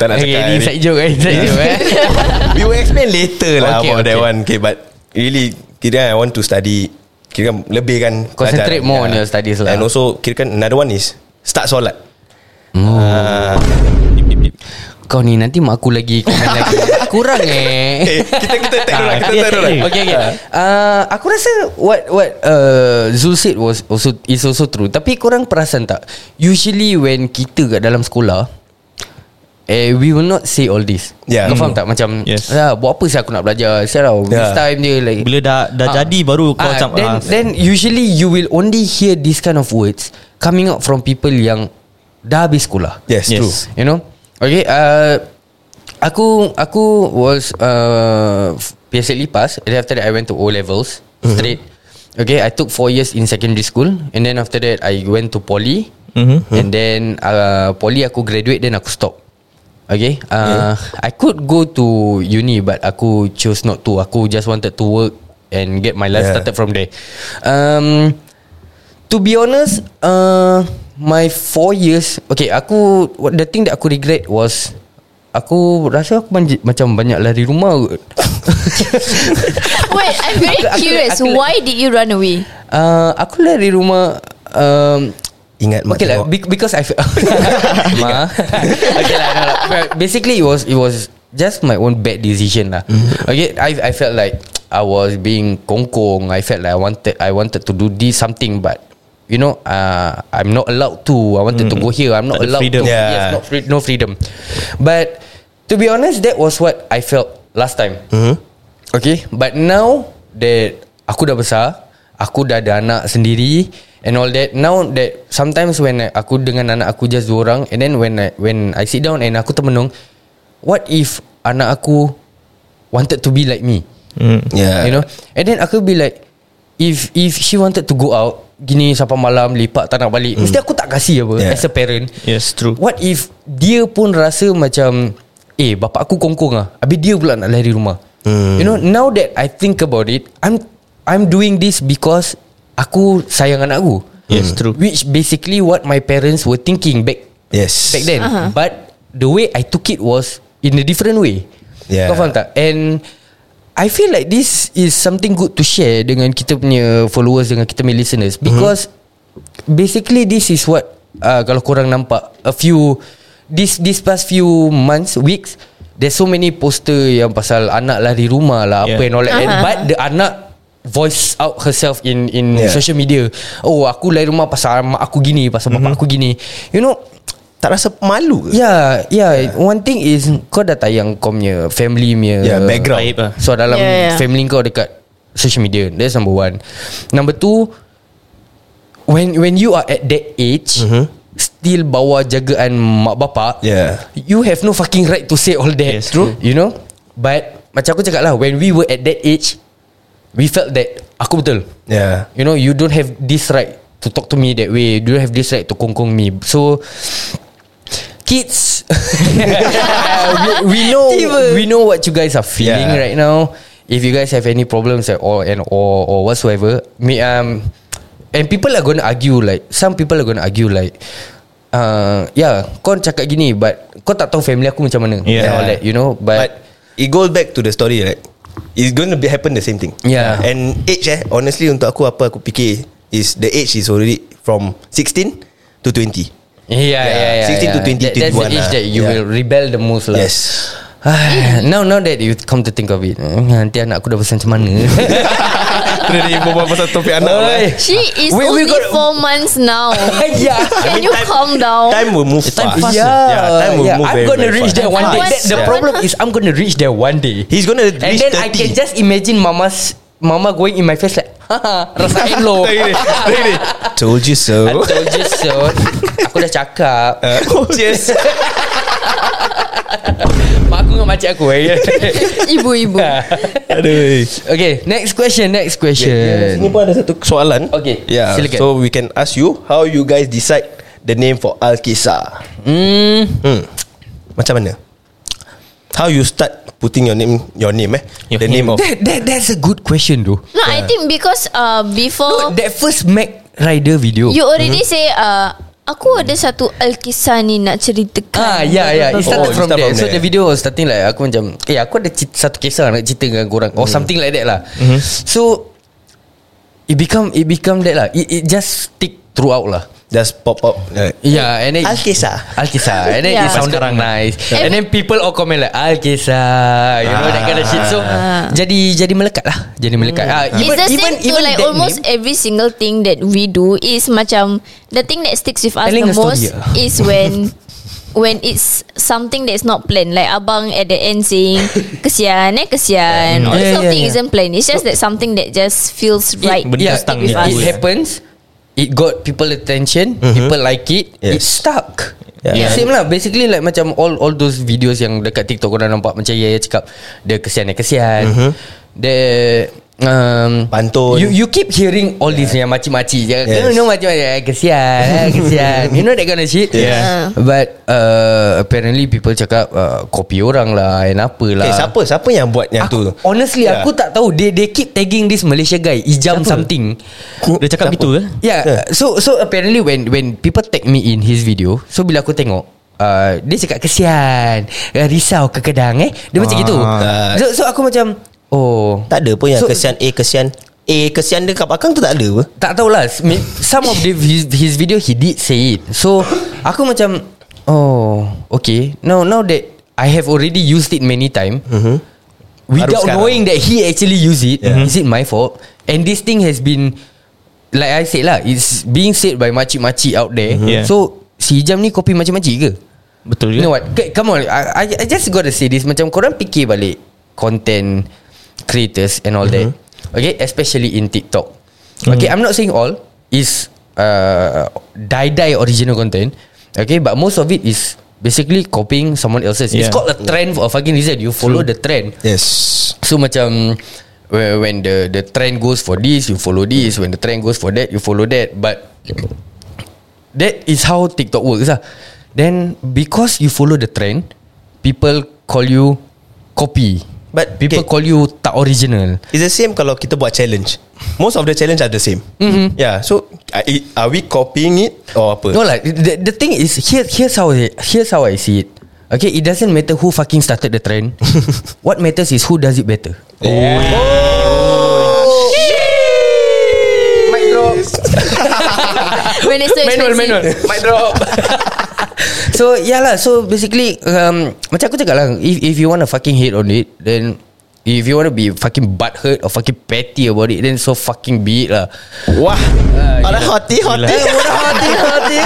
tak nak
Okay,
cakap.
ni
Eric.
side joke eh.
Ya.
Side joke eh.
We will explain later lah
Okay,
okay, about okay. that
okay.
one. Okay, but really, kira I want to study. Kira kan lebih kan.
Concentrate
belajar.
more on your studies lah.
And also, kira kan another one is start solat. Ah,
Kau ni nanti mak aku lagi komen lagi. Kurang eh.
eh, kita kita tak lah,
Ah,
kita
dia
tak lah.
tak ada.
Okay, okay. Uh, aku rasa what what uh, Zul said was also is also true. Tapi korang perasan tak? Usually when kita kat dalam sekolah, eh we will not say all this.
Yeah.
Kau faham
Hmm.
tak? Macam,
Yes.
ah, buat apa sih aku nak belajar? Saya tahu.
Yeah.
This time dia like.
Bila dah dah
Ah.
jadi baru kau
Ah,
macam
then,
ah,
then usually you will only hear this kind of words coming out from people yang dah habis sekolah.
Yes,
Yes.
true.
You know Okay uh, Aku Aku was uh, PSLE pass And then after that I went to O-levels Straight Okay I took 4 years in secondary school And then after that I went to poly
Mhm.
And then uh, Poly aku graduate Then aku stop Okay uh, I could go to uni But aku chose not to Aku just wanted to work And get my life
Yeah.
started from there um, To be honest uh, My 4 years Okay aku what- The thing that aku regret was Aku rasa aku manj- macam banyak lari rumah kot.
Wait, I'm very
Aku- aku-
curious.
aku-
Why did you run away?
uh, Aku lari rumah um,
Ingat mak
Okay lah
tengok.
be- Because I fe- Ma Okay lah no, lah. But Basically it was It was Just my own bad decision lah
Mm-hmm.
Okay I I felt like I was being kongkong I felt like I wanted I wanted to do this something But You know uh, I'm not allowed to I wanted
Mm-hmm.
to go here I'm not
Tak ada
allowed
freedom.
to
Yeah.
Yes not free- No freedom But To be honest That was what I felt Last time
Mm-hmm.
Okay But now That Aku dah besar Aku dah ada anak sendiri And all that Now that Sometimes when I, Aku dengan anak aku Just dua orang And then when I, When I sit down And aku termenung What if Anak aku Wanted to be like me
Hmm.
Yeah.
You know And then aku be like If if she wanted to go out Gini sampai malam Lepak tak nak balik Mesti aku tak kasih apa
Hmm. Yeah.
As a parent
Yes, true.
What if Dia pun rasa macam Eh bapak aku kongkong lah Habis dia pula nak lari rumah
Hmm.
You know Now that I think about it I'm I'm doing this because Aku sayang anak aku
Yes, true.
Which basically what my parents were thinking back
Yes.
back then uh-huh. but the way I took it was in a different way
Yeah.
kau faham tak and I feel like this is something good to share dengan kita punya followers dengan kita punya
Mhm.
listeners because basically this is what uh, kalau korang nampak a few this this past few months weeks there's so many poster yang pasal anak lari rumah lah yeah. apa
Yeah.
and all that uh-huh. and
Aha.
but the anak voice out herself in in
Yeah.
social media oh aku lari rumah pasal mak aku gini pasal
Mhm.
mm-hmm. bapak aku gini you know
Tak rasa malu ke?
Ya, ya. One thing is kau dah tayang kau punya family punya
Yeah, background.
Aib lah.
So dalam
Yeah, yeah.
yeah, yeah. family kau dekat social media. That's number one. Number two, when when you are at that age, mm-hmm. still bawa jagaan mak bapak,
Yeah.
you have no fucking right to say all that.
Ya. Yes, true.
You know? But macam aku cakap lah, when we were at that age, we felt that aku betul.
Yeah.
You know you don't have this right To talk to me that way You don't have this right to kongkong me So Kids uh, we, we know We know what you guys are feeling
Yeah.
right now If you guys have any problems at all and or or whatsoever me um and people are gonna argue like some people are gonna argue like uh, yeah kau cakap gini but kau tak tahu family aku macam mana
Yeah.
and all that you know
But, but
but,
it goes back to the story right. It's going to be happen the same thing.
Yeah.
And age eh honestly untuk aku apa aku fikir is the age is already from 16 to 20.
yeah, yeah, yeah, yeah
16 to 20,
that, that's the age
21 lah.
that you
Yeah.
will rebel the most lah
Yes.
Ah, now now that you come to think of it eh, Nanti anak aku dah besar macam mana
Kena dia berbual pasal topik lah, eh.
Oi.
She is
We- we
only
got-
four months now.
Yeah
Can you calm down?
Time will move
Time fast.
fast. Yeah, time will move
I'm
very,
gonna
very
reach
fast.
there one day
Fast.
That, The
Yeah.
problem is I'm gonna reach there one day
He's gonna
And
reach
then
30.
I can just imagine mama's Mama going in my face like Haha rasain lo
Told you so.
I told you so Aku dah cakap
Cheers.
Mak aku dengan makcik aku eh.
Ibu-ibu.
Ya. Aduh.
Okay next question Next question
Ini pun ada satu soalan.
Okay,
Yeah.
silakan.
So we can ask you how you guys decide the name for Al Kisah.
Hmm
Hmm. Macam mana? How you start putting your name your name eh
Your
the name, of
that, that, That's a good question though
No, I think because uh,
No,
before
that first Mac Rider video
you already
Mhm.
say uh, aku ada satu alkisah ni nak ceritakan.
Ah ya ya It started
Oh, it
from
start
there
from
So the
there.
video was starting like Aku macam Eh aku ada cit- satu kisah Nak cerita dengan korang Or
Hmm.
something like that lah So It become It become that lah It, it just stick throughout lah
just pop up like
Yeah Ya, and then
Alkisah.
Alkisah And then it
Yeah.
sounded
Sekarang.
nice And then people all comment like Alkisah You know that kind of shit So Jadi jadi melekat lah Jadi melekat Ah,
Ah. Hmm. It's the same to like
that name,
almost every single thing that we do is macam the thing that sticks with us
Telling a
the
story,
most
yeah.
is when when it's something that's not planned. Like abang at the end saying kesian eh kesian.
Yeah,
All this sort of
yeah,
thing
yeah.
isn't planned. It's just that something that just feels right.
yeah,
benda stang
it,
with us.
it happens It got people attention People like it
Yes.
It stuck yeah.
Yeah.
Same lah Basically like macam All all those videos yang Dekat TikTok korang nampak Macam Yaya cakap Dia kesian dia kesian Dia um,
Pantun.
You you keep hearing All this yang macam-macam je yes.
Yes.
You know macam-macam Kesian eh, Kesian You know that kind of shit
Yeah.
But uh, Apparently people cakap uh, Copy orang lah And apalah
Okay, siapa siapa yang buat yang
Aku,
tu? Ya.
honestly
Yeah.
yeah. aku tak tahu They they keep tagging this Malaysia guy Ijam something Ya,
Dia cakap gitu ke?
Yeah,
Ya.
so so apparently when when people tag me in his video, so bila aku tengok, Uh, dia cakap kesian uh, Risau ke kedang eh Dia
Ah.
macam gitu so, so aku macam Oh
Tak ada pun yang
So-
so, kesian A kesian A kesian dia kat belakang tu tak ada apa
Tak tahulah Me- Some of the, his, his video He did say it So Aku macam Oh Okay Now now that I have already used it many time mm-hmm. Without
sekarang.
knowing that he actually use it yeah. Is it my fault And this thing has been Like I said lah It's being said by makcik-makcik out there
Mhm. Yeah.
So Si Hijam ni copy makcik-makcik ke?
Betul
You know what K- Come on I, I, I just gotta say this Macam korang fikir balik Content Creators and all mm-hmm. that Okay Especially in TikTok Okay I'm not saying all Is uh, Die-die original content Okay But most of it is Basically copying someone else's yeah. It's
Yeah.
called a trend For a fucking reason You follow True. the trend
Yes
So macam whe- When the the trend goes for this You follow this When the trend goes for that You follow that But That is how TikTok works lah Then Because you follow the trend People call you Copy
But,
People
okay.
call you Tak original
It's the same kalau kita buat challenge Most of the challenge are the same mm-hmm. Yeah so are- Are we copying it Or apa
No lah the, the thing is here, Here's how it, Here's how I see it Okay it doesn't matter Who fucking started the trend What matters is Who does it better Oh.
Oh,
When it's so
Manual
expensive.
manual Mic drop So yeah lah So basically um, Macam aku cakap lah If, if you want to fucking hate on it Then If you want to be fucking butthurt Or fucking petty about it Then so fucking be it lah
Wah
Ah,
Alah hati hati
Hati hati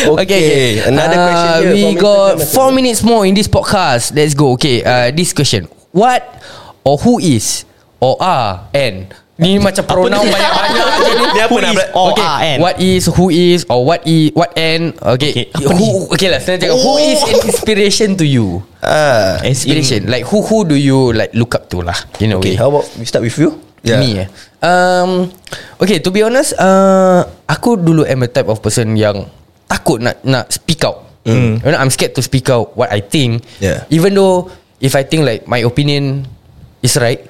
Okay, another question
uh,
here.
We
Four
got
minutes
4 minutes more In this podcast Let's go Okay uh, This question What Or who is Or are And Ni macam pronoun banyak-banyak je ni.
Dia apa
Who
nak
is
bela-
or
okay,
are and?
What is, who is, or what is, what and Okay,
Okay, apa
who, okay lah, sekarang cakap Who
Oh.
is an inspiration to you?
Ah,
As in-
Inspiration, like who who do you like look up to lah In a
Okay
way
how about We start with you
Me eh um, Okay to be honest uh, Aku dulu am a type of person yang Takut nak nak speak out mm. you know, I'm scared to speak out What I think
Yeah.
Even though If I think like My opinion Is right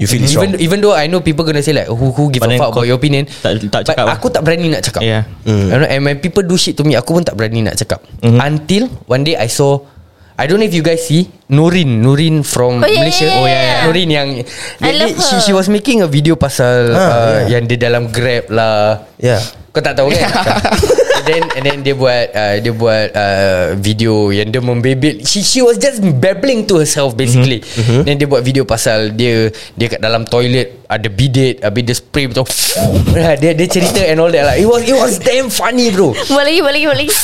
You feel it's
even
wrong
even though I know people gonna say like who who give a
But then
fuck about
kau
your opinion
tak-
but
tak cakap lah.
aku tak berani nak cakap
Yeah.
Hmm.
you know, and when people do shit to me aku pun tak berani nak cakap mm-hmm. until one day I saw I don't know if you guys see Nurin Nurin from
Oh, yeah,
Malaysia
yeah, yeah, yeah.
Nurin yang
I love
she,
her.
she was making a video pasal
Ah,
uh,
yeah.
yang dia dalam Grab lah
Yeah
kau tak tahu kan And then and then dia buat uh, dia buat uh, video yang dia membebel she she was just babbling to herself basically mm-hmm. then dia buat video pasal dia dia kat dalam toilet ada bidet habis dia spray betul dia dia cerita and all that lah it was it was damn funny bro
Buat lagi, buat lagi, buat lagi.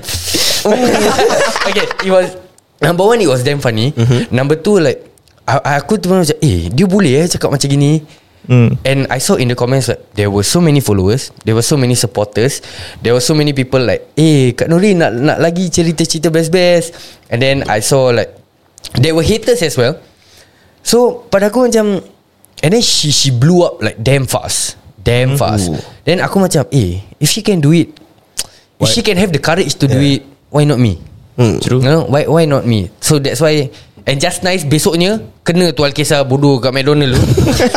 okay, it was number one it was damn funny. Oh. Mm-hmm. Number two like a- aku tu pun macam eh dia boleh eh cakap macam gini. Mm. And I saw in the comments like there were so many followers, there were so many supporters, there were so many people like eh Kak Nuri nak nak lagi cerita-cerita best-best. And then I saw like there were haters as well. So pada aku macam And then she she blew up like damn fast Damn mm. fast Then aku macam Eh if she can do it If she can have the courage to do it Why not me mm.
Hmm.
True you know, Why why not me So that's why And just nice besoknya Kena tual kisah bodoh kat McDonald tu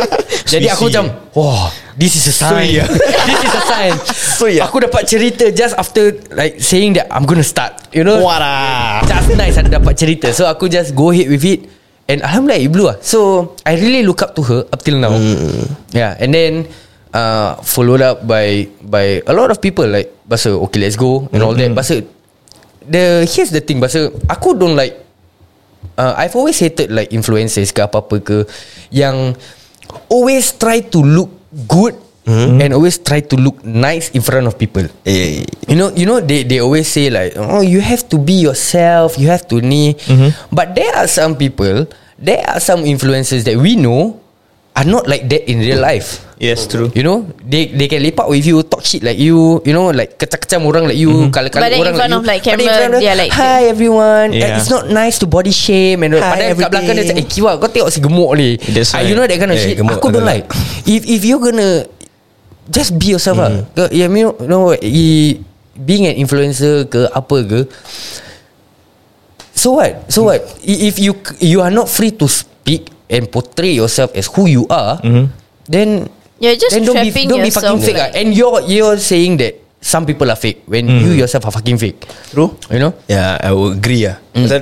Jadi aku macam Wah This is a sign
Sui, ya.
This is a sign
Sui, ya.
Aku dapat cerita Just after Like saying that I'm gonna start You know
Wara
Just nice ada dapat cerita So aku just go ahead with it And Alhamdulillah it blew lah So I really look up to her Up till now Yeah and then uh, Followed up by By a lot of people Like Bahasa okay let's go And all that Bahasa the, Here's the thing Bahasa Aku don't like uh, I've always hated like Influencers ke apa-apa ke Yang Always try to look good And always try to look nice In front of people
Eh
You know, you know they they always say like, oh, you have to be yourself, you have to ni. But there are some people, there are some influencers that we know are not like that in real life.
Yes true
You know, they they can lepak with you, talk shit like you, you know, like kecam-kecam orang like you, kalau-kalau
But then in
orang
front of, like,
But then in
camera,
front of-
they are like-
hi everyone.
Yeah.
It's not nice to body shame and
Hi,
padahal kat belakang dia
everything.
cakap, eh kiwa kau tengok si gemuk ni.
That's
Ah,
right.
You know that kind of
Eh,
shit.
gemuk
Aku don't
agak-agak.
like. If if you're gonna just be yourself mm. lah. Ke- You know, you know i, being an influencer ke apa ke. So what? So what? I- If you you are not free to speak and portray yourself as who you are, mm-hmm. then
You're just
then don't be
trapping
don't be fucking
yourself,
fake. Eh,
like-
ah. And you're you're saying that some people are fake when you yourself are fucking fake.
True.
You know?
Yeah, I would agree lah. Mm. Pasal,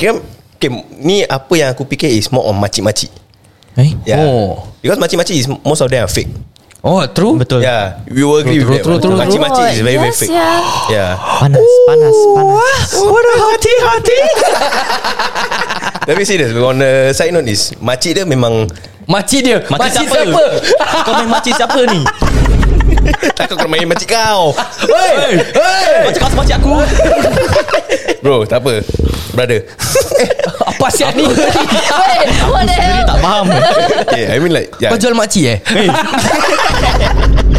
kira, okay, ni apa yang aku fikir is more on makcik-makcik.
Eh?
Yeah.
Oh.
Because makcik-makcik is most of them are fake.
Oh, true.
Betul.
Yeah, we will agree
True,
with
true,
that.
true,
one.
true.
Makcik-makcik is very very
Yes,
fake.
yeah.
Yeah.
Panas, panas, panas.
What a hati hati.
Tapi serious, on the side note is makcik dia memang
Makcik dia. Makcik,
siapa?
siapa?
Kau main makcik siapa ni?
takut kena main makcik kau.
Hey, hey.
Macam kau makcik aku.
Bro, tak apa. Brother.
Apa siap ni?
Wait, what the hell?
Tak faham.
Yeah, I mean like yeah.
Kau jual makcik eh?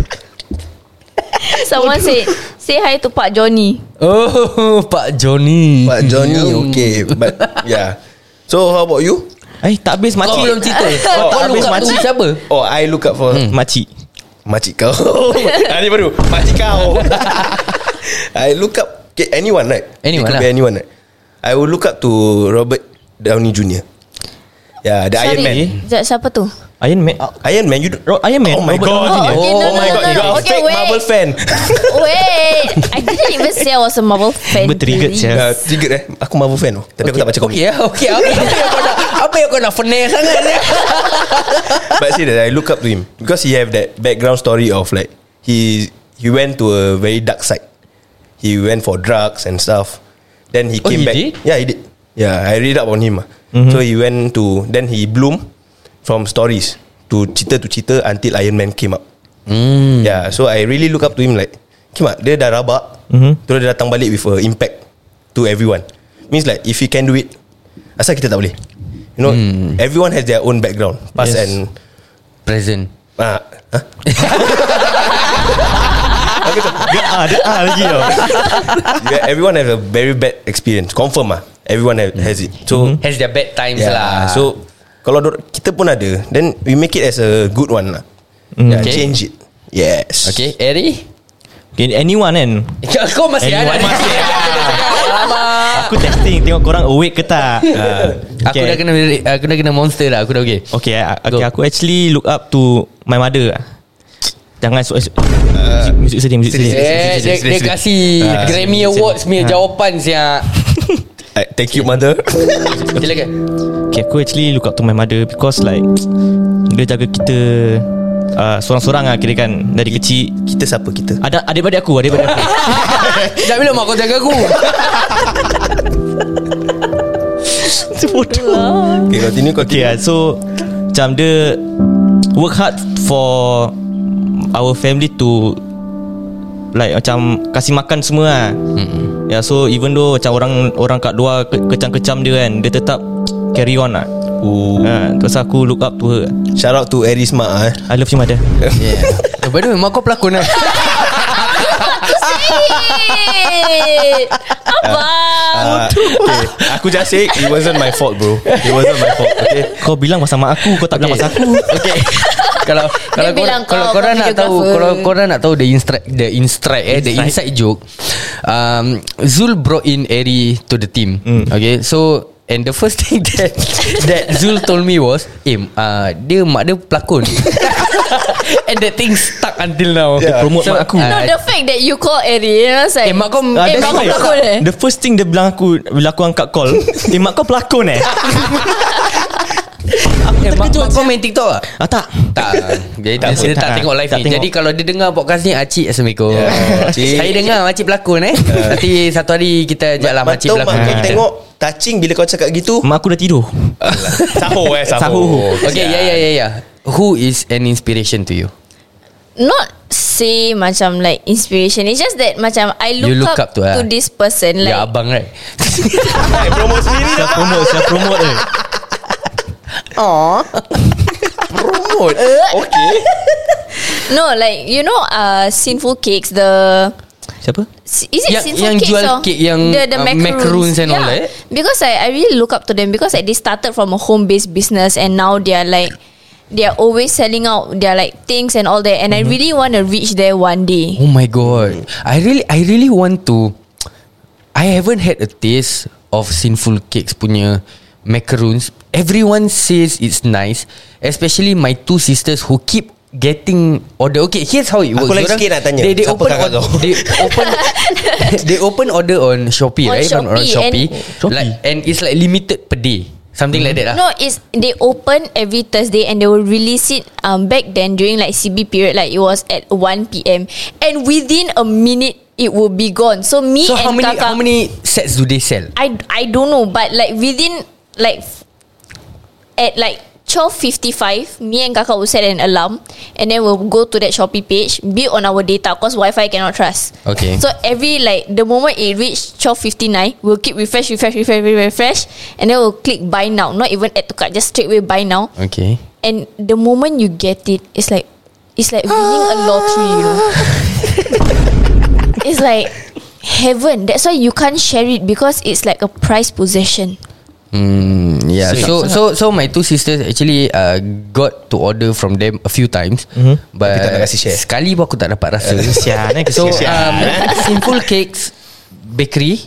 Someone say say hi to Pak Johnny.
Oh, Pak Johnny.
But Johnny okay, but yeah. So how about you?
Eh, tak habis
Kau
makcik.
belum cerita.
Oh,
Kau
habis
lupa tu
makcik.
siapa?
Oh, I look up for hmm.
Makcik.
makcik kau. Ah, ni baru makcik kau. I look up okay, anyone right?
Anyone
It could
lah.
Be anyone right? I will look up to Robert Downey Jr. Yeah, the Iron Man.
Sekejap, siapa tu?
Iron Man. ah,
Iron Man, you do-
Ro- Iron Man.
Oh my
Robert
god.
Downey Jr.
Oh,
Okay, no, no,
my
no,
god,
no,
you
no.
are a
Okay,
fake
wait.
Marvel fan.
Wait, I didn't even say I was a Marvel fan.
Tiba triggered,
please.
sia.
Uh, triggered eh Aku Marvel fan oh. Tapi okay. aku tak baca komik
Okey, ah, okey. ah, Apa yang kau nak apa yang kau nak fener sangat ni?
But see that I look up to him because he have that background story of like he he went to a very dark side. He went for drugs and stuff. Then he
Oh,
came
he
back.
did?
Yeah, he did. Yeah, I read up on him. ah. So he went to then he bloomed from stories to cheater to cheater until Iron Man came up. Yeah, so I really look up to him like Kim dia dah rabak mm-hmm. Terus dia datang balik with a impact To everyone Means like if he can do it Asal kita tak boleh You know Everyone has their own background Past
Yes.
and
Present.
Ah, huh?
Dia ah, dia ah lagi tau.
yeah, everyone have a very bad experience. Confirm ah. Everyone have, has it. So
Has their bad times
yeah,
lah.
so kalau dor- kita pun ada, then we make it as a good one lah. Yeah,
Mm. Okay.
change it. Yes.
Okay, Eri.
Okay, anyone kan?
Kau masih
Anyone
ada ni.
masih Aku testing tengok korang awake ke tak. Ah,
Aku dah kena aku dah kena monster dah. Aku dah okay.
Okay, ah,
Go.
okay aku actually look up to my mother. ah. Jangan so, so, music, music sedih, music sedih.
sedih,
Music
Eh,
sedih,
dia,
music
dia
sedih.
kasih
Ah.
Grammy
Sedih,
Awards
sedih.
punya
Ah.
jawapan siap.
I, Uh, thank you mother.
Silakan.
Okay, aku actually look up to my mother because like dia jaga kita uh, seorang-seorang lah kira kan dari kecil.
kita siapa kita?
Ada adik-adik aku, adik-adik aku.
Dah bila mak kau jaga aku?
Okay, continue
Okay,
continue.
ah, so macam dia work hard for our family to like macam kasih makan semua lah. Mm-hmm. Yeah, so even though macam orang orang kat luar ke- kecam-kecam dia kan, dia tetap carry on lah.
Ooh.
Ha, terus aku look up to her.
Oh. Shout out to Erisma ah.
I love you mother.
Yeah. Eh, By the way, mak kau pelakon eh?
Shit. Abang.
Uh,
Oh,
okay. Aku just say it wasn't my fault bro. It wasn't my fault. Okay.
Kau bilang pasal mak aku, kau tak bilang
Okay.
pasal aku.
Eh,
Okay. kalau kalau
bilang
korang, kalau
kau
korang nak
videographer.
tahu kalau korang nak tahu the inside the inside eh the inside joke um Zul brought in Eri to the team okay so and the first thing that that Zul told me was eh uh, dia mak dia pelakon and that thing stuck until now
Dia promote mak aku.
No,
uh,
the fact that you call Eddie, you know, it's like,
Eh, mak kau-
eh,
Uh,
mak
Ah, that's
kau
why.
pelakon eh.
The first thing dia bilang aku Bila aku angkat call Eh mak kau pelakon eh
eh, mak, mak kau main TikTok tak?
ah, Tak
Tak Dia, tak,
Tak
dia, dia
apa,
tak,
tak.
tengok live
Tak
ni
tengok.
Jadi kalau dia dengar podcast ni Acik Assalamualaikum
Ya, Acik.
Saya dengar Acik pelakon eh Nanti satu hari kita ajak lah Acik
Macam mak
pelakon
kau
kita.
tengok touching bila kau cakap gitu.
Mak aku dah tidur Oh,
Sahur ya, eh
Sahur.
sahur.
Okay ya, yeah yeah yeah yeah Who is an inspiration to you?
not say macam like inspiration. It's just that macam I look,
You look up to her.
to this person
Like,
like
ya abang right
Eh, promo sendiri
Saya
dah.
promote Saya promote eh
Promote. Okay.
no like you know uh sinful cakes the
Siapa?
is it
Yang-
sinful
yang
cakes
jual
or
cake yang, uh, macaroons and all that?
Because I I really look up to them because like they started from a home based business and now they are like they are always selling out their like things and all that and
Mm-hmm.
I really want to reach there one day.
Oh my god I really I really want to I haven't had a taste Of sinful cakes punya Macaroons Everyone says it's nice Especially my two sisters Who keep getting order. Okay, here's how it
Aku
works.
lain
Diorang-
sikit nak tanya.
They, they
Siapa
open on,
kakak kau?
they open they open order on Shopee,
On
right? If I'm not wrong, Shopee.
Shopee and-
Shopee. Like and it's like limited per day. Something
Hmm.
like that lah.
No, it's they open every Thursday and they will release it um back then during like CB period, like it was at 1 p.m. And within a minute, it will be gone. So me
So
and
how many
Kakak,
how many sets do they sell?
I I don't know, but like within like f- at like. 12.55 Me and Kakak will set an alarm And then we'll go to that Shopee page Build on our data Because Wi-Fi cannot trust
Okay.
So every like The moment it reach 12.59 We'll keep refresh Refresh Refresh Refresh refresh, And then we'll click buy now Not even add to cart Just straight away buy now
Okay.
And the moment you get it, it's like it's like winning a lottery, you know. it's like heaven. That's why you can't share it because it's like a prized possession.
Mm, yeah. So so so my two sisters actually uh, got to order from them a few times, mm-hmm. but
Tapi tak nak kasi share.
sekali pun aku tak dapat rasa.
Kesian eh
so
kesian.
um, simple cakes bakery.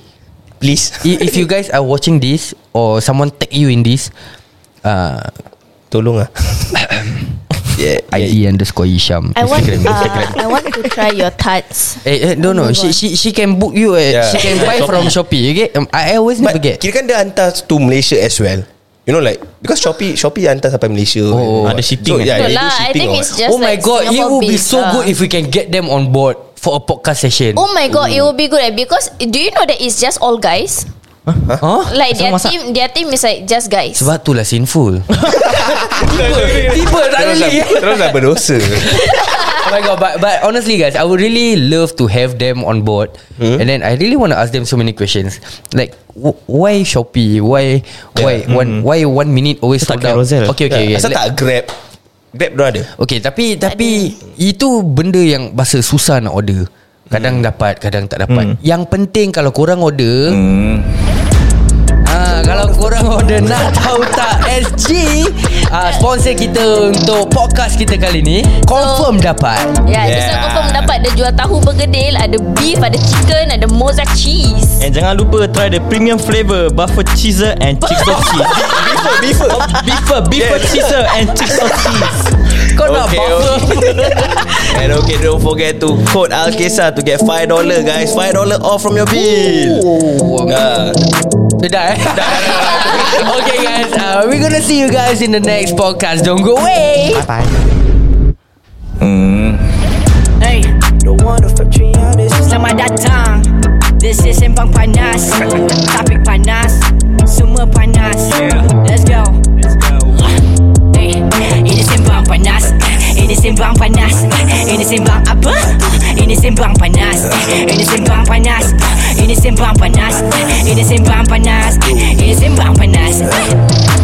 Please
I- If you guys are watching this or someone tag you in this, uh,
Tolong lah yeah, yeah.
ID E underscore Isham.
I want
Instagram.
uh, I want to try your tarts.
Eh, eh, no no
Oh my
she
God.
she she can book you eh.
Yeah.
she can buy from Shopee okay um, I I always
But
never get
kira kan dia hantar to Malaysia as well You know like Because Shopee Shopee hantar sampai Malaysia
Oh.
Ada shipping eh?
yeah,
No
they do
lah, I
shipping
think
or
it's
what?
just
oh my
like
god, it
Singapore uh.
would be
based
so
lah.
good if we can get them on board for a podcast session.
Oh my god, it will be good eh, because do you know that it's just all guys?
huh?
Like their
Asal masak?
team, their team is like just guys.
Sebab itulah sinful. Tiba tak
Terus lah,
really.
terus lah berdosa
Oh my god, but but honestly guys, I would really love to have them on board. And then I really want to ask them so many questions. Like wh- why Shopee? Why why one why one minute always
Dia tak
sold out?
Carousel.
Okay okay okay.
Asal
Let-
tak grab Grab dia ada
Okay tapi tapi itu benda yang bahasa susah nak order. Kadang
Hmm.
dapat, kadang tak dapat. Yang penting kalau korang order
Hmm.
Ah, kalau korang order nak tahu tak SG ah, Sponsor kita untuk podcast kita kali ni Confirm dapat
Yeah, yeah. Dia
Yeah.
confirm dapat Dia jual tahu bergedil Ada beef Ada chicken Ada mozzarella cheese
And jangan lupa try the premium flavor buffer cheese and chicks cheese.
Beaver Beaver
Beefer, beefer
Yes.
cheeser and chicks of cheese.
Kau nak
Okay,
buffer
And okay don't forget to Code Alkesa To get $5 guys $5 off from your bill
Oh,
Ah,
Sedap eh Okay guys uh, We're gonna see you guys in the next podcast Don't go away
Hey, Selamat datang This is Sembang Panas Topik panas Semua panas Let's go Hey, Ini Sembang Panas Ini Sembang Panas Ini Sembang apa? Ini Sembang Panas Ini Sembang Panas Ini Sembang Panas Ini Sembang Panas Ini Sembang Panas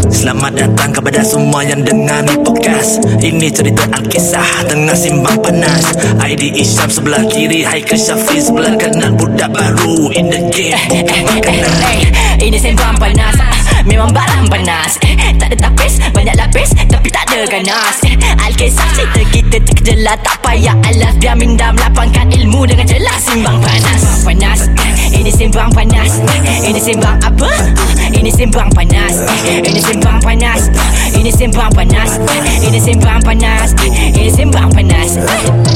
Selamat datang kepada semua yang dengar ni podcast Ini cerita Alkisah tengah simbang panas ID Isyam sebelah kiri Haikal Syafiq sebelah kanan Budak baru in the game
eh,
Bukan makanan
Eh, Ini sembang panas Ah, Memang barang panas Eh, Tak ada tapis Banyak lapis Tapi tak ada ganas Eh, Alkisah cerita kita terkejelah Tak payah alas Biar minda melapangkan ilmu Dengan jelas Simbang panas Sembang panas Eh, Ini sembang panas Eh, Ini sembang apa? Ah, Ini sembang panas Eh, Ini sembang panas Ah, Ini sembang panas Eh, Ini sembang panas Eh, Ini sembang panas Eh,